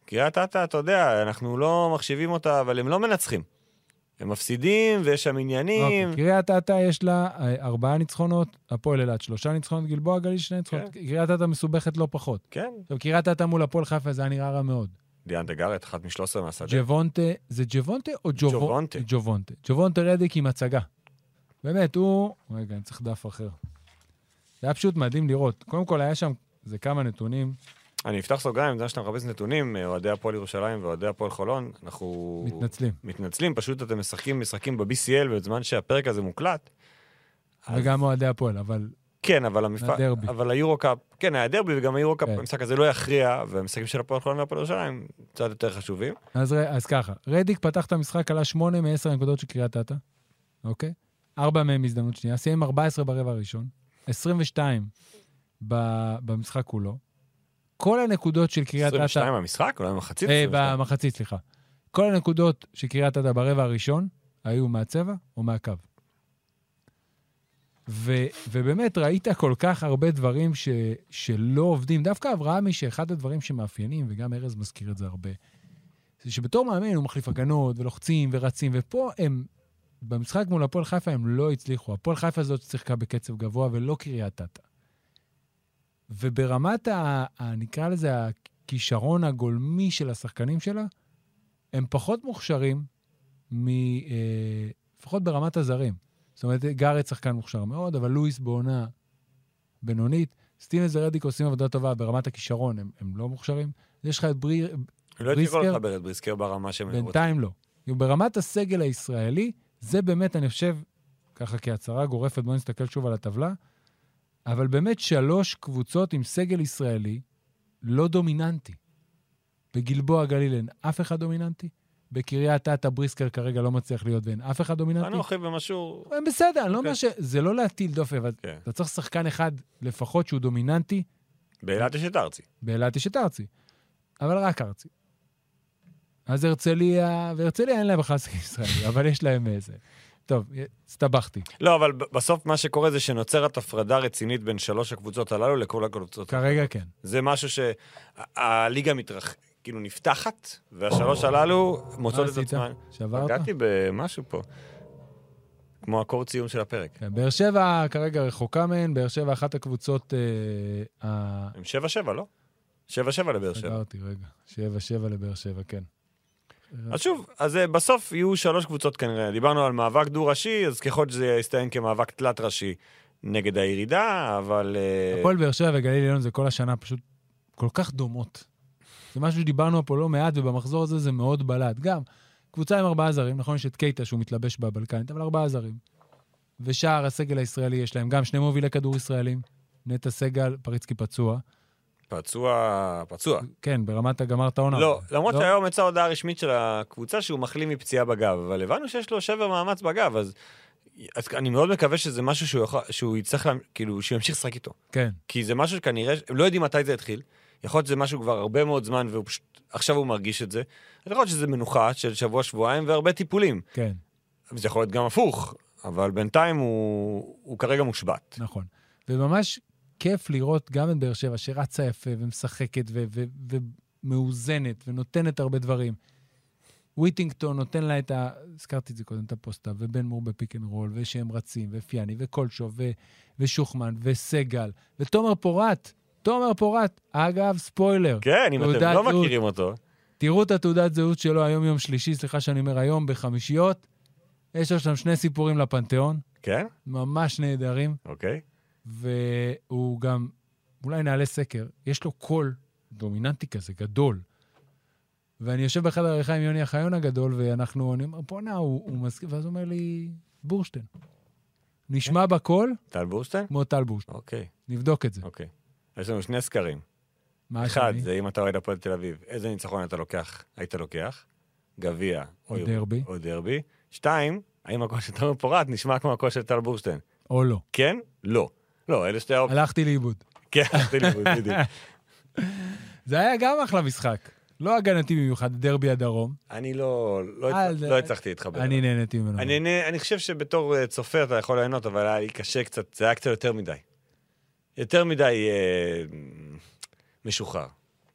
Speaker 3: קריית אתא, אתה יודע, אנחנו לא מחשיבים אותה, אבל הם לא מנצחים. הם מפסידים, ויש שם עניינים.
Speaker 2: אוקיי, קריית אתא יש לה אה, ארבעה ניצחונות, הפועל אילת שלושה ניצחונות, גלבוע גליל שני ניצחונות. קריית אתא מסובכת לא פחות.
Speaker 3: כן,
Speaker 2: עכשיו, קריית אתא מול הפועל חיפה זה היה נראה רע מאוד.
Speaker 3: דיאנדה גארט, אחת משלוש עשרה מהשדה.
Speaker 2: ג'וונטה, זה ג'וונטה או ג'ובו-
Speaker 3: ג'וונטה.
Speaker 2: ג'וונטה. ג'וונטה רדיק עם הצגה. באמת, הוא... רגע, אני צריך דף אחר. זה היה פשוט מדהים לראות. קודם כל, היה שם, זה כמה נתונים.
Speaker 3: אני אפתח סוגריים, זה שאתה מחפש נתונים, אוהדי הפועל ירושלים ואוהדי הפועל חולון, אנחנו...
Speaker 2: מתנצלים.
Speaker 3: מתנצלים, פשוט אתם משחקים משחקים ב-BCL בזמן שהפרק הזה מוקלט. אז-
Speaker 2: וגם אוהדי הפועל, אבל
Speaker 3: כן, אבל המפעל...
Speaker 2: הדרבי.
Speaker 3: אבל היורו קאפ, כן, היה דרבי וגם היורו קאפ,
Speaker 2: כן.
Speaker 3: המשחק הזה לא יכריע, והמשחקים של הפועל חולון והפועל ירושלים קצת יותר חשובים.
Speaker 2: אז, ר- אז ככה, רדיק פתח את המשחק, עלה 8 מ-10 הנקודות של קריית אתא, אוקיי? ארבע מהם הזדמנות שנייה, סיים 14 ברבע הראשון, 22 ב- במשחק כולו. כל הנקודות של קריית אתא...
Speaker 3: 22 המשחק, אולי מחצית
Speaker 2: אה,
Speaker 3: 22.
Speaker 2: במחצית, סליחה. כל הנקודות של קריית אתא ברבע הראשון היו מהצבע או מהקו. ו, ובאמת, ראית כל כך הרבה דברים ש, שלא עובדים. דווקא אברהמי, שאחד הדברים שמאפיינים, וגם ארז מזכיר את זה הרבה, זה שבתור מאמן הוא מחליף הגנות, ולוחצים, ורצים, ופה הם, במשחק מול הפועל חיפה הם לא הצליחו. הפועל חיפה זאת ששיחקה בקצב גבוה, ולא קריית אתא. וברמת, ה, ה, נקרא לזה, הכישרון הגולמי של השחקנים שלה, הם פחות מוכשרים, מ, אה, לפחות ברמת הזרים. זאת אומרת, גארד שחקן מוכשר מאוד, אבל לואיס בעונה בינונית. סטינס ורדיק עושים עבודה טובה ברמת הכישרון, הם, הם לא מוכשרים. יש לך את בריר,
Speaker 3: לא הייתי
Speaker 2: בריסקר?
Speaker 3: יכול לחבר את בריסקר ברמה שהם היו רוצים.
Speaker 2: בינתיים לא. כאילו, ברמת הסגל הישראלי, זה באמת, אני חושב, ככה כהצהרה גורפת, בואו נסתכל שוב על הטבלה, אבל באמת שלוש קבוצות עם סגל ישראלי לא דומיננטי. בגלבוע גליל אין אף אחד דומיננטי, בקריית אתא בריסקר כרגע לא מצליח להיות ואין אף אחד דומיננטי.
Speaker 3: אנוכי ומשהו...
Speaker 2: הם בסדר, אני לא
Speaker 3: אוקיי.
Speaker 2: אומר ש... זה לא להטיל דופי, אבל
Speaker 3: כן.
Speaker 2: אתה צריך שחקן אחד לפחות שהוא דומיננטי,
Speaker 3: באילת יש את ארצי.
Speaker 2: באילת יש את ארצי, אבל רק ארצי. אז הרצליה, והרצליה אין להם בכלל סגל ישראלי, אבל יש להם איזה. טוב, הסתבכתי.
Speaker 3: לא, אבל ב- בסוף מה שקורה זה שנוצרת הפרדה רצינית בין שלוש הקבוצות הללו לכל הקבוצות.
Speaker 2: כרגע כן.
Speaker 3: זה משהו שהליגה מתרח... כאילו נפתחת, והשלוש הללו מוצאות את
Speaker 2: עשית?
Speaker 3: עצמן.
Speaker 2: שברת?
Speaker 3: פגעתי במשהו פה, כמו הקור ציום של הפרק.
Speaker 2: כן, באר שבע כרגע רחוקה מהן, באר שבע אחת הקבוצות... אה, ה-
Speaker 3: הם שבע שבע, לא? שבע שבע לבאר שבע.
Speaker 2: אה, סגרתי, רגע. שבע, שבע לבאר שבע, כן.
Speaker 3: אז שוב, אז אה, בסוף יהיו שלוש קבוצות כנראה. דיברנו על מאבק דו-ראשי, אז ככל שזה יסתיים כמאבק תלת-ראשי נגד הירידה, אבל... אה,
Speaker 2: הפועל באר שבע וגליל עליון זה כל השנה פשוט כל כך דומות. זה משהו שדיברנו פה לא מעט, ובמחזור הזה זה מאוד בלט. גם, קבוצה עם ארבעה זרים, נכון, יש את קייטה שהוא מתלבש בבלקנית, אבל ארבעה זרים. ושאר הסגל הישראלי יש להם גם שני מובילי כדור ישראלים, נטע סגל, פריצקי פצוע.
Speaker 3: פצוע, פצוע.
Speaker 2: כן, ברמת הגמר את העונה.
Speaker 3: לא, למרות
Speaker 2: לא?
Speaker 3: שהיום יצאה הודעה רשמית של הקבוצה שהוא מחלים מפציעה בגב, אבל הבנו שיש לו שבר מאמץ בגב, אז, אז אני מאוד מקווה שזה משהו שהוא, יוכל, שהוא יצטרך, לה, כאילו, שהוא ימשיך לשחק איתו.
Speaker 2: כן,
Speaker 3: כי זה משהו שכנראה, הם לא יודעים מתי זה התחיל. יכול להיות שזה משהו כבר הרבה מאוד זמן, והוא פשוט, עכשיו הוא מרגיש את זה. אז יכול להיות שזה מנוחה של שבוע-שבועיים והרבה טיפולים.
Speaker 2: כן,
Speaker 3: זה יכול להיות גם הפוך, אבל בינתיים הוא, הוא כרגע מושבת.
Speaker 2: נכון. וממש כיף לראות גם את באר שבע, שרצה יפה ומשחקת ו- ו- ומאוזנת ונותנת הרבה דברים. וויטינגטון נותן לה את ה... הזכרתי את זה קודם, את הפוסטה, ובן מור בפיק אנד רול, ושהם רצים, ופיאני, וקולשוב, ו- ושוחמן, וסגל, ותומר פורט, תומר פורט, אגב, ספוילר,
Speaker 3: כן, אם אתם
Speaker 2: תעודת
Speaker 3: לא
Speaker 2: זהות.
Speaker 3: מכירים אותו,
Speaker 2: תראו את התעודת זהות שלו היום יום שלישי, סליחה שאני אומר היום, בחמישיות, יש לו שם שני סיפורים לפנתיאון,
Speaker 3: כן?
Speaker 2: ממש נהדרים.
Speaker 3: אוקיי.
Speaker 2: והוא גם, אולי נעלה סקר, יש לו קול דומיננטי כזה, גדול. ואני יושב באחד העריכה עם יוני אחיון הגדול, ואנחנו, אני אומר, בואנה, הוא, הוא מזכיר, ואז הוא אומר לי, בורשטיין. נשמע
Speaker 3: כן.
Speaker 2: בקול
Speaker 3: טל בורשטיין?
Speaker 2: כמו טל בורשטיין.
Speaker 3: אוקיי,
Speaker 2: נבדוק את זה.
Speaker 3: אוקיי. יש לנו שני סקרים.
Speaker 2: מה
Speaker 3: אחד,
Speaker 2: השני?
Speaker 3: זה אם אתה אוהד הפועל תל אביב, איזה ניצחון אתה לוקח, היית לוקח? גביע
Speaker 2: או דרבי.
Speaker 3: או דרבי. שתיים, האם הקול של תומר פורט נשמע כמו הקול של טל בורשטיין?
Speaker 2: או לא.
Speaker 3: כן? לא. לא, אלה שתי האופציות.
Speaker 2: הלכתי לאיבוד.
Speaker 3: כן, עשיתי לימוד, בדיוק.
Speaker 2: זה היה גם אחלה משחק. לא הגנתי במיוחד, דרבי הדרום.
Speaker 3: אני לא לא
Speaker 2: אה,
Speaker 3: הצ-
Speaker 2: זה-
Speaker 3: לא הצלחתי להתחבר.
Speaker 2: אני נהניתי ממנו.
Speaker 3: אני- אני- אני חושב שבתור אה, צופה אתה יכול ליהנות, אבל היה לי קשה קצת, זה היה קצת יותר מדי. יותר מדי אה, משוחרר.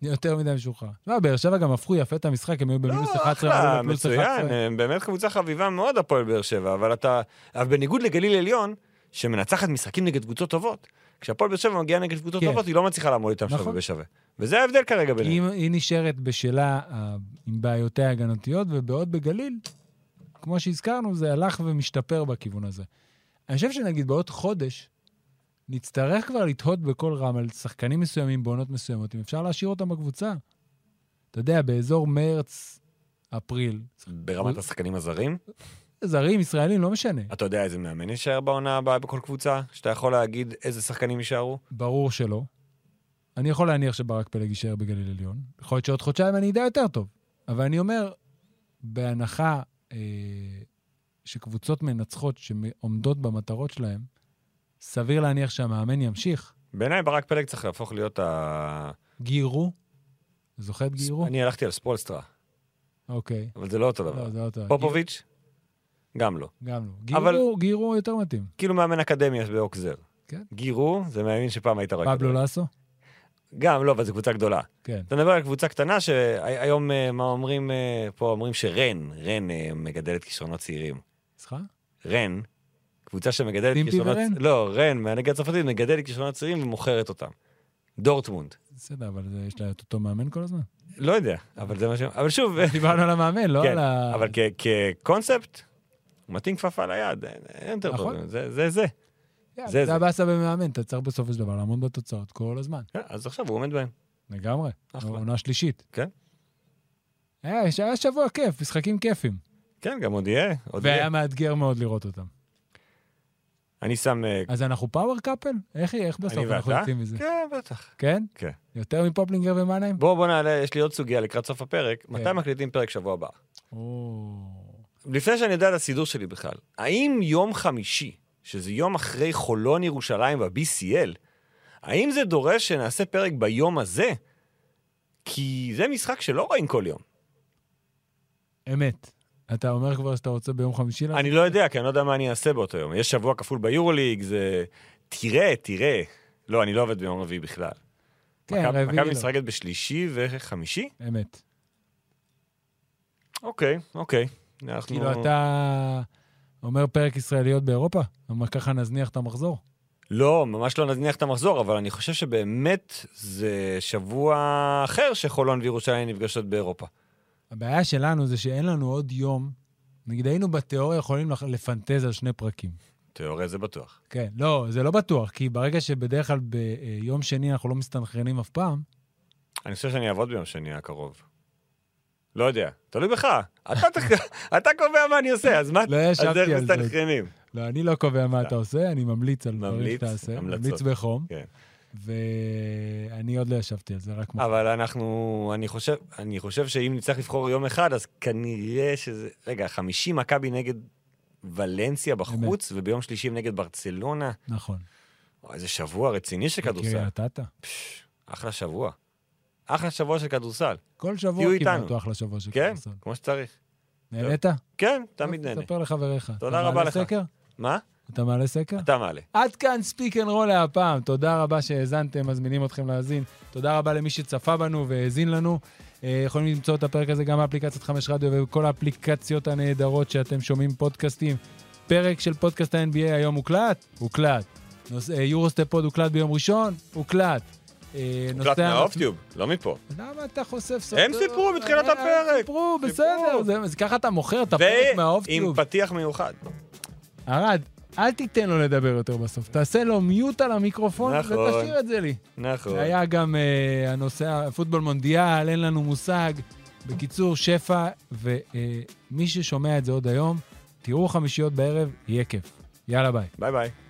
Speaker 2: יותר מדי משוחרר. לא, באר שבע גם הפכו יפה את המשחק, הם היו במינוס 11, הם
Speaker 3: לא, אה, אחלה,
Speaker 2: עלו לפלוס 11.
Speaker 3: מצוין, הם באמת קבוצה חביבה מאוד, הפועל באר שבע, אבל אתה... אבל בניגוד לגליל עליון, שמנצחת משחקים נגד קבוצות טובות, כשהפועל באר שבע מגיעה נגד קבוצות
Speaker 2: כן.
Speaker 3: טובות, היא לא מצליחה לעמוד איתם שווה
Speaker 2: נכון.
Speaker 3: בשווה. וזה ההבדל כרגע
Speaker 2: כי
Speaker 3: ביניהם.
Speaker 2: היא- היא נשארת בשלה אה, עם בעיותיה ההגנתיות, ובעוד בגליל, כמו שהזכרנו, זה הלך ומשתפר בכיוון הזה. אני חושב שנגיד בעוד חודש, נצטרך כבר לתהות בכל רם על שחקנים מסוימים בעונות מסוימות, אם אפשר להשאיר אותם בקבוצה. אתה יודע, באזור מרץ, אפריל,
Speaker 3: ברמת השחקנים הזרים,
Speaker 2: זרים, ישראלים, לא משנה.
Speaker 3: אתה יודע איזה מאמן יישאר בעונה הבאה בכל קבוצה? שאתה יכול להגיד איזה שחקנים יישארו?
Speaker 2: ברור שלא. אני יכול להניח שברק פלג יישאר בגליל עליון. יכול להיות שעוד חודשיים אני אדע יותר טוב. אבל אני אומר, בהנחה אה, שקבוצות מנצחות שעומדות במטרות שלהן, סביר להניח שהמאמן ימשיך.
Speaker 3: בעיניי ברק פלג צריך להפוך להיות ה...
Speaker 2: גיירו? זוכר את גיירו?
Speaker 3: אני הלכתי על ספולסטרה,
Speaker 2: אוקיי.
Speaker 3: אבל זה לא אותו דבר.
Speaker 2: לא, זה לא טוב.
Speaker 3: פופוביץ'? גם לא.
Speaker 2: גם לא.
Speaker 3: אבל-
Speaker 2: גיירו, גיירו יותר מתאים.
Speaker 3: כאילו מאמן אקדמיה באוקזר.
Speaker 2: כן.
Speaker 3: גירו, זה מאמין שפעם היית רואה.
Speaker 2: פבלו לא.
Speaker 3: כדורגל.
Speaker 2: לסו?
Speaker 3: גם לא, אבל זו קבוצה גדולה.
Speaker 2: כן.
Speaker 3: אתה מדבר על קבוצה קטנה שהיום, אה, מה אומרים אה, פה? אומרים שרן, רן אה, מגדלת כישרונות צעירים.
Speaker 2: סליחה?
Speaker 3: רן, קבוצה שמגדלת
Speaker 2: טימפי
Speaker 3: כישרונות...
Speaker 2: ורן?
Speaker 3: לא, רן, מהליגה הצרפתית, מגדלת כישרונות צעירים ומוכרת אותם. דורטמונד.
Speaker 2: בסדר, אבל זה- יש לה את אותו מאמן כל הזמן.
Speaker 3: לא יודע, אבל זה מה ש... אבל שוב,
Speaker 2: דיברנו על המאמן, לא
Speaker 3: כן,
Speaker 2: על ה...
Speaker 3: אבל כ- כקונספט, הוא מתאים כפפה ליד, אין- אין יותר
Speaker 2: נכון.
Speaker 3: טוב, זה זה. זה.
Speaker 2: כן,
Speaker 3: זה-
Speaker 2: זה הבאסה במאמן, אתה צריך בסופו של דבר לעמוד בתוצאות כל הזמן.
Speaker 3: כן, אז עכשיו הוא עומד בהם.
Speaker 2: לגמרי.
Speaker 3: אחלה.
Speaker 2: עונה שלישית.
Speaker 3: נכון. כן.
Speaker 2: היה, היה שבוע כיף, משחקים כיפים.
Speaker 3: כן, גם עוד יהיה, עוד יהיה.
Speaker 2: והיה מאתגר מאוד לראות אותם.
Speaker 3: אני שם... אה,
Speaker 2: אז אנחנו פאוור קאפל? איך יהיה? איך
Speaker 3: אני
Speaker 2: בסוף לא אנחנו
Speaker 3: ואתה?
Speaker 2: יוצאים מזה?
Speaker 3: כן, בטח.
Speaker 2: כן?
Speaker 3: כן.
Speaker 2: יותר מפופלינגר ומאנהיים?
Speaker 3: בואו בוא נעלה, יש לי עוד סוגיה לקראת סוף
Speaker 2: כן.
Speaker 3: הפרק. מתי מקליטים פרק שבוע הבא?
Speaker 2: או...
Speaker 3: לפני שאני יודע את הסידור שלי בכלל, האם יום חמישי, שזה יום אחרי חולון ירושלים ב-BCL, האם זה דורש שנעשה פרק ביום הזה? כי זה משחק שלא רואים כל יום.
Speaker 2: אמת. אתה אומר כבר שאתה רוצה ביום חמישי לעשות?
Speaker 3: אני לא יודע, כי אני לא יודע מה אני אעשה באותו יום. יש שבוע כפול ביורוליג, זה... תראה, תראה. לא, אני לא עובד ביום רביעי בכלל.
Speaker 2: כן,
Speaker 3: מכבי-
Speaker 2: רביעי
Speaker 3: מכבי
Speaker 2: לא.
Speaker 3: משחקת בשלישי וחמישי?
Speaker 2: אמת.
Speaker 3: אוקיי, אוקיי. אנחנו...
Speaker 2: כאילו אתה אומר פרק ישראליות באירופה? אמר ככה נזניח את המחזור?
Speaker 3: לא, ממש לא נזניח את המחזור, אבל אני חושב שבאמת זה שבוע אחר שחולון וירושלים נפגשות באירופה.
Speaker 2: הבעיה שלנו זה שאין לנו עוד יום. נגיד היינו בתיאוריה יכולים לח- לפנטז על שני פרקים.
Speaker 3: תיאוריה זה בטוח.
Speaker 2: כן, לא, זה לא בטוח, כי ברגע שבדרך כלל ביום שני אנחנו לא מסתנכרנים אף פעם,
Speaker 3: אני חושב שאני אעבוד ביום שני הקרוב. לא יודע, תלוי בך. אתה, אתה קובע מה אני עושה, אז מה...
Speaker 2: לא ישבתי
Speaker 3: אז איך
Speaker 2: על זה.
Speaker 3: מסתנכרנים?
Speaker 2: לא, אני לא קובע מה אתה עושה, אני ממליץ על דברים
Speaker 3: ממליץ,
Speaker 2: שאתה עושה.
Speaker 3: המלצות.
Speaker 2: ממליץ בחום.
Speaker 3: כן.
Speaker 2: ואני עוד לא ישבתי על זה, רק מוכן.
Speaker 3: אבל אנחנו... אני חושב, אני חושב שאם נצטרך לבחור יום אחד, אז כנראה שזה... רגע, חמישי מכבי נגד ולנסיה בחוץ, וביום שלישי הם נגד ברצלונה.
Speaker 2: נכון.
Speaker 3: וואי, איזה שבוע רציני של אה, כדורסל.
Speaker 2: קריית אתא.
Speaker 3: פש, אחלה שבוע. אחלה שבוע של כדורסל,
Speaker 2: כל שבוע
Speaker 3: תהיו
Speaker 2: כמעט
Speaker 3: איתנו.
Speaker 2: הוא אחלה שבוע של
Speaker 3: כן?
Speaker 2: כדורסל.
Speaker 3: כמו שצריך.
Speaker 2: נהנית?
Speaker 3: כן,
Speaker 2: טוב,
Speaker 3: תמיד נהנה.
Speaker 2: לא, תספר לחבריך. אתה
Speaker 3: רבה
Speaker 2: מעלה
Speaker 3: לך.
Speaker 2: סקר?
Speaker 3: מה?
Speaker 2: אתה מעלה סקר?
Speaker 3: אתה מעלה.
Speaker 2: עד כאן ספיק אנד רול להפעם. תודה רבה שהאזנתם, מזמינים אתכם להאזין. תודה רבה למי שצפה בנו והאזין לנו. אה, יכולים למצוא את הפרק הזה גם באפליקציית חמש רדיו ובכל האפליקציות הנהדרות שאתם שומעים פודקאסטים. פרק של פודקאסט ה-NBA היום הוקלט? הוקלט. נוס- אה, יורוסטפ פוד הוקלט ביום ראשון? הוקלט. אה,
Speaker 3: הוקלט
Speaker 2: נוסע-
Speaker 3: מהאופטיוב, לא מפה.
Speaker 2: למה אתה חושף סודות?
Speaker 3: הם סיפרו בתחילת
Speaker 2: אה,
Speaker 3: הפרק.
Speaker 2: סיפרו,
Speaker 3: סיפרו.
Speaker 2: בסדר. זה- זה- ככה אתה מוכר את הפרק
Speaker 3: ועם
Speaker 2: מהאופטיוב.
Speaker 3: פתיח מיוחד.
Speaker 2: ארד, אל תיתן לו לדבר יותר בסוף. תעשה לו מיוט על המיקרופון
Speaker 3: נכון.
Speaker 2: ותשאיר את זה לי.
Speaker 3: נכון.
Speaker 2: זה היה גם אה, הנושא, פוטבול מונדיאל, אין אה, לנו מושג. בקיצור, שפע, ומי ששומע את זה עוד היום, תראו חמישיות בערב, יהיה כיף. יאללה, ביי.
Speaker 3: ביי ביי.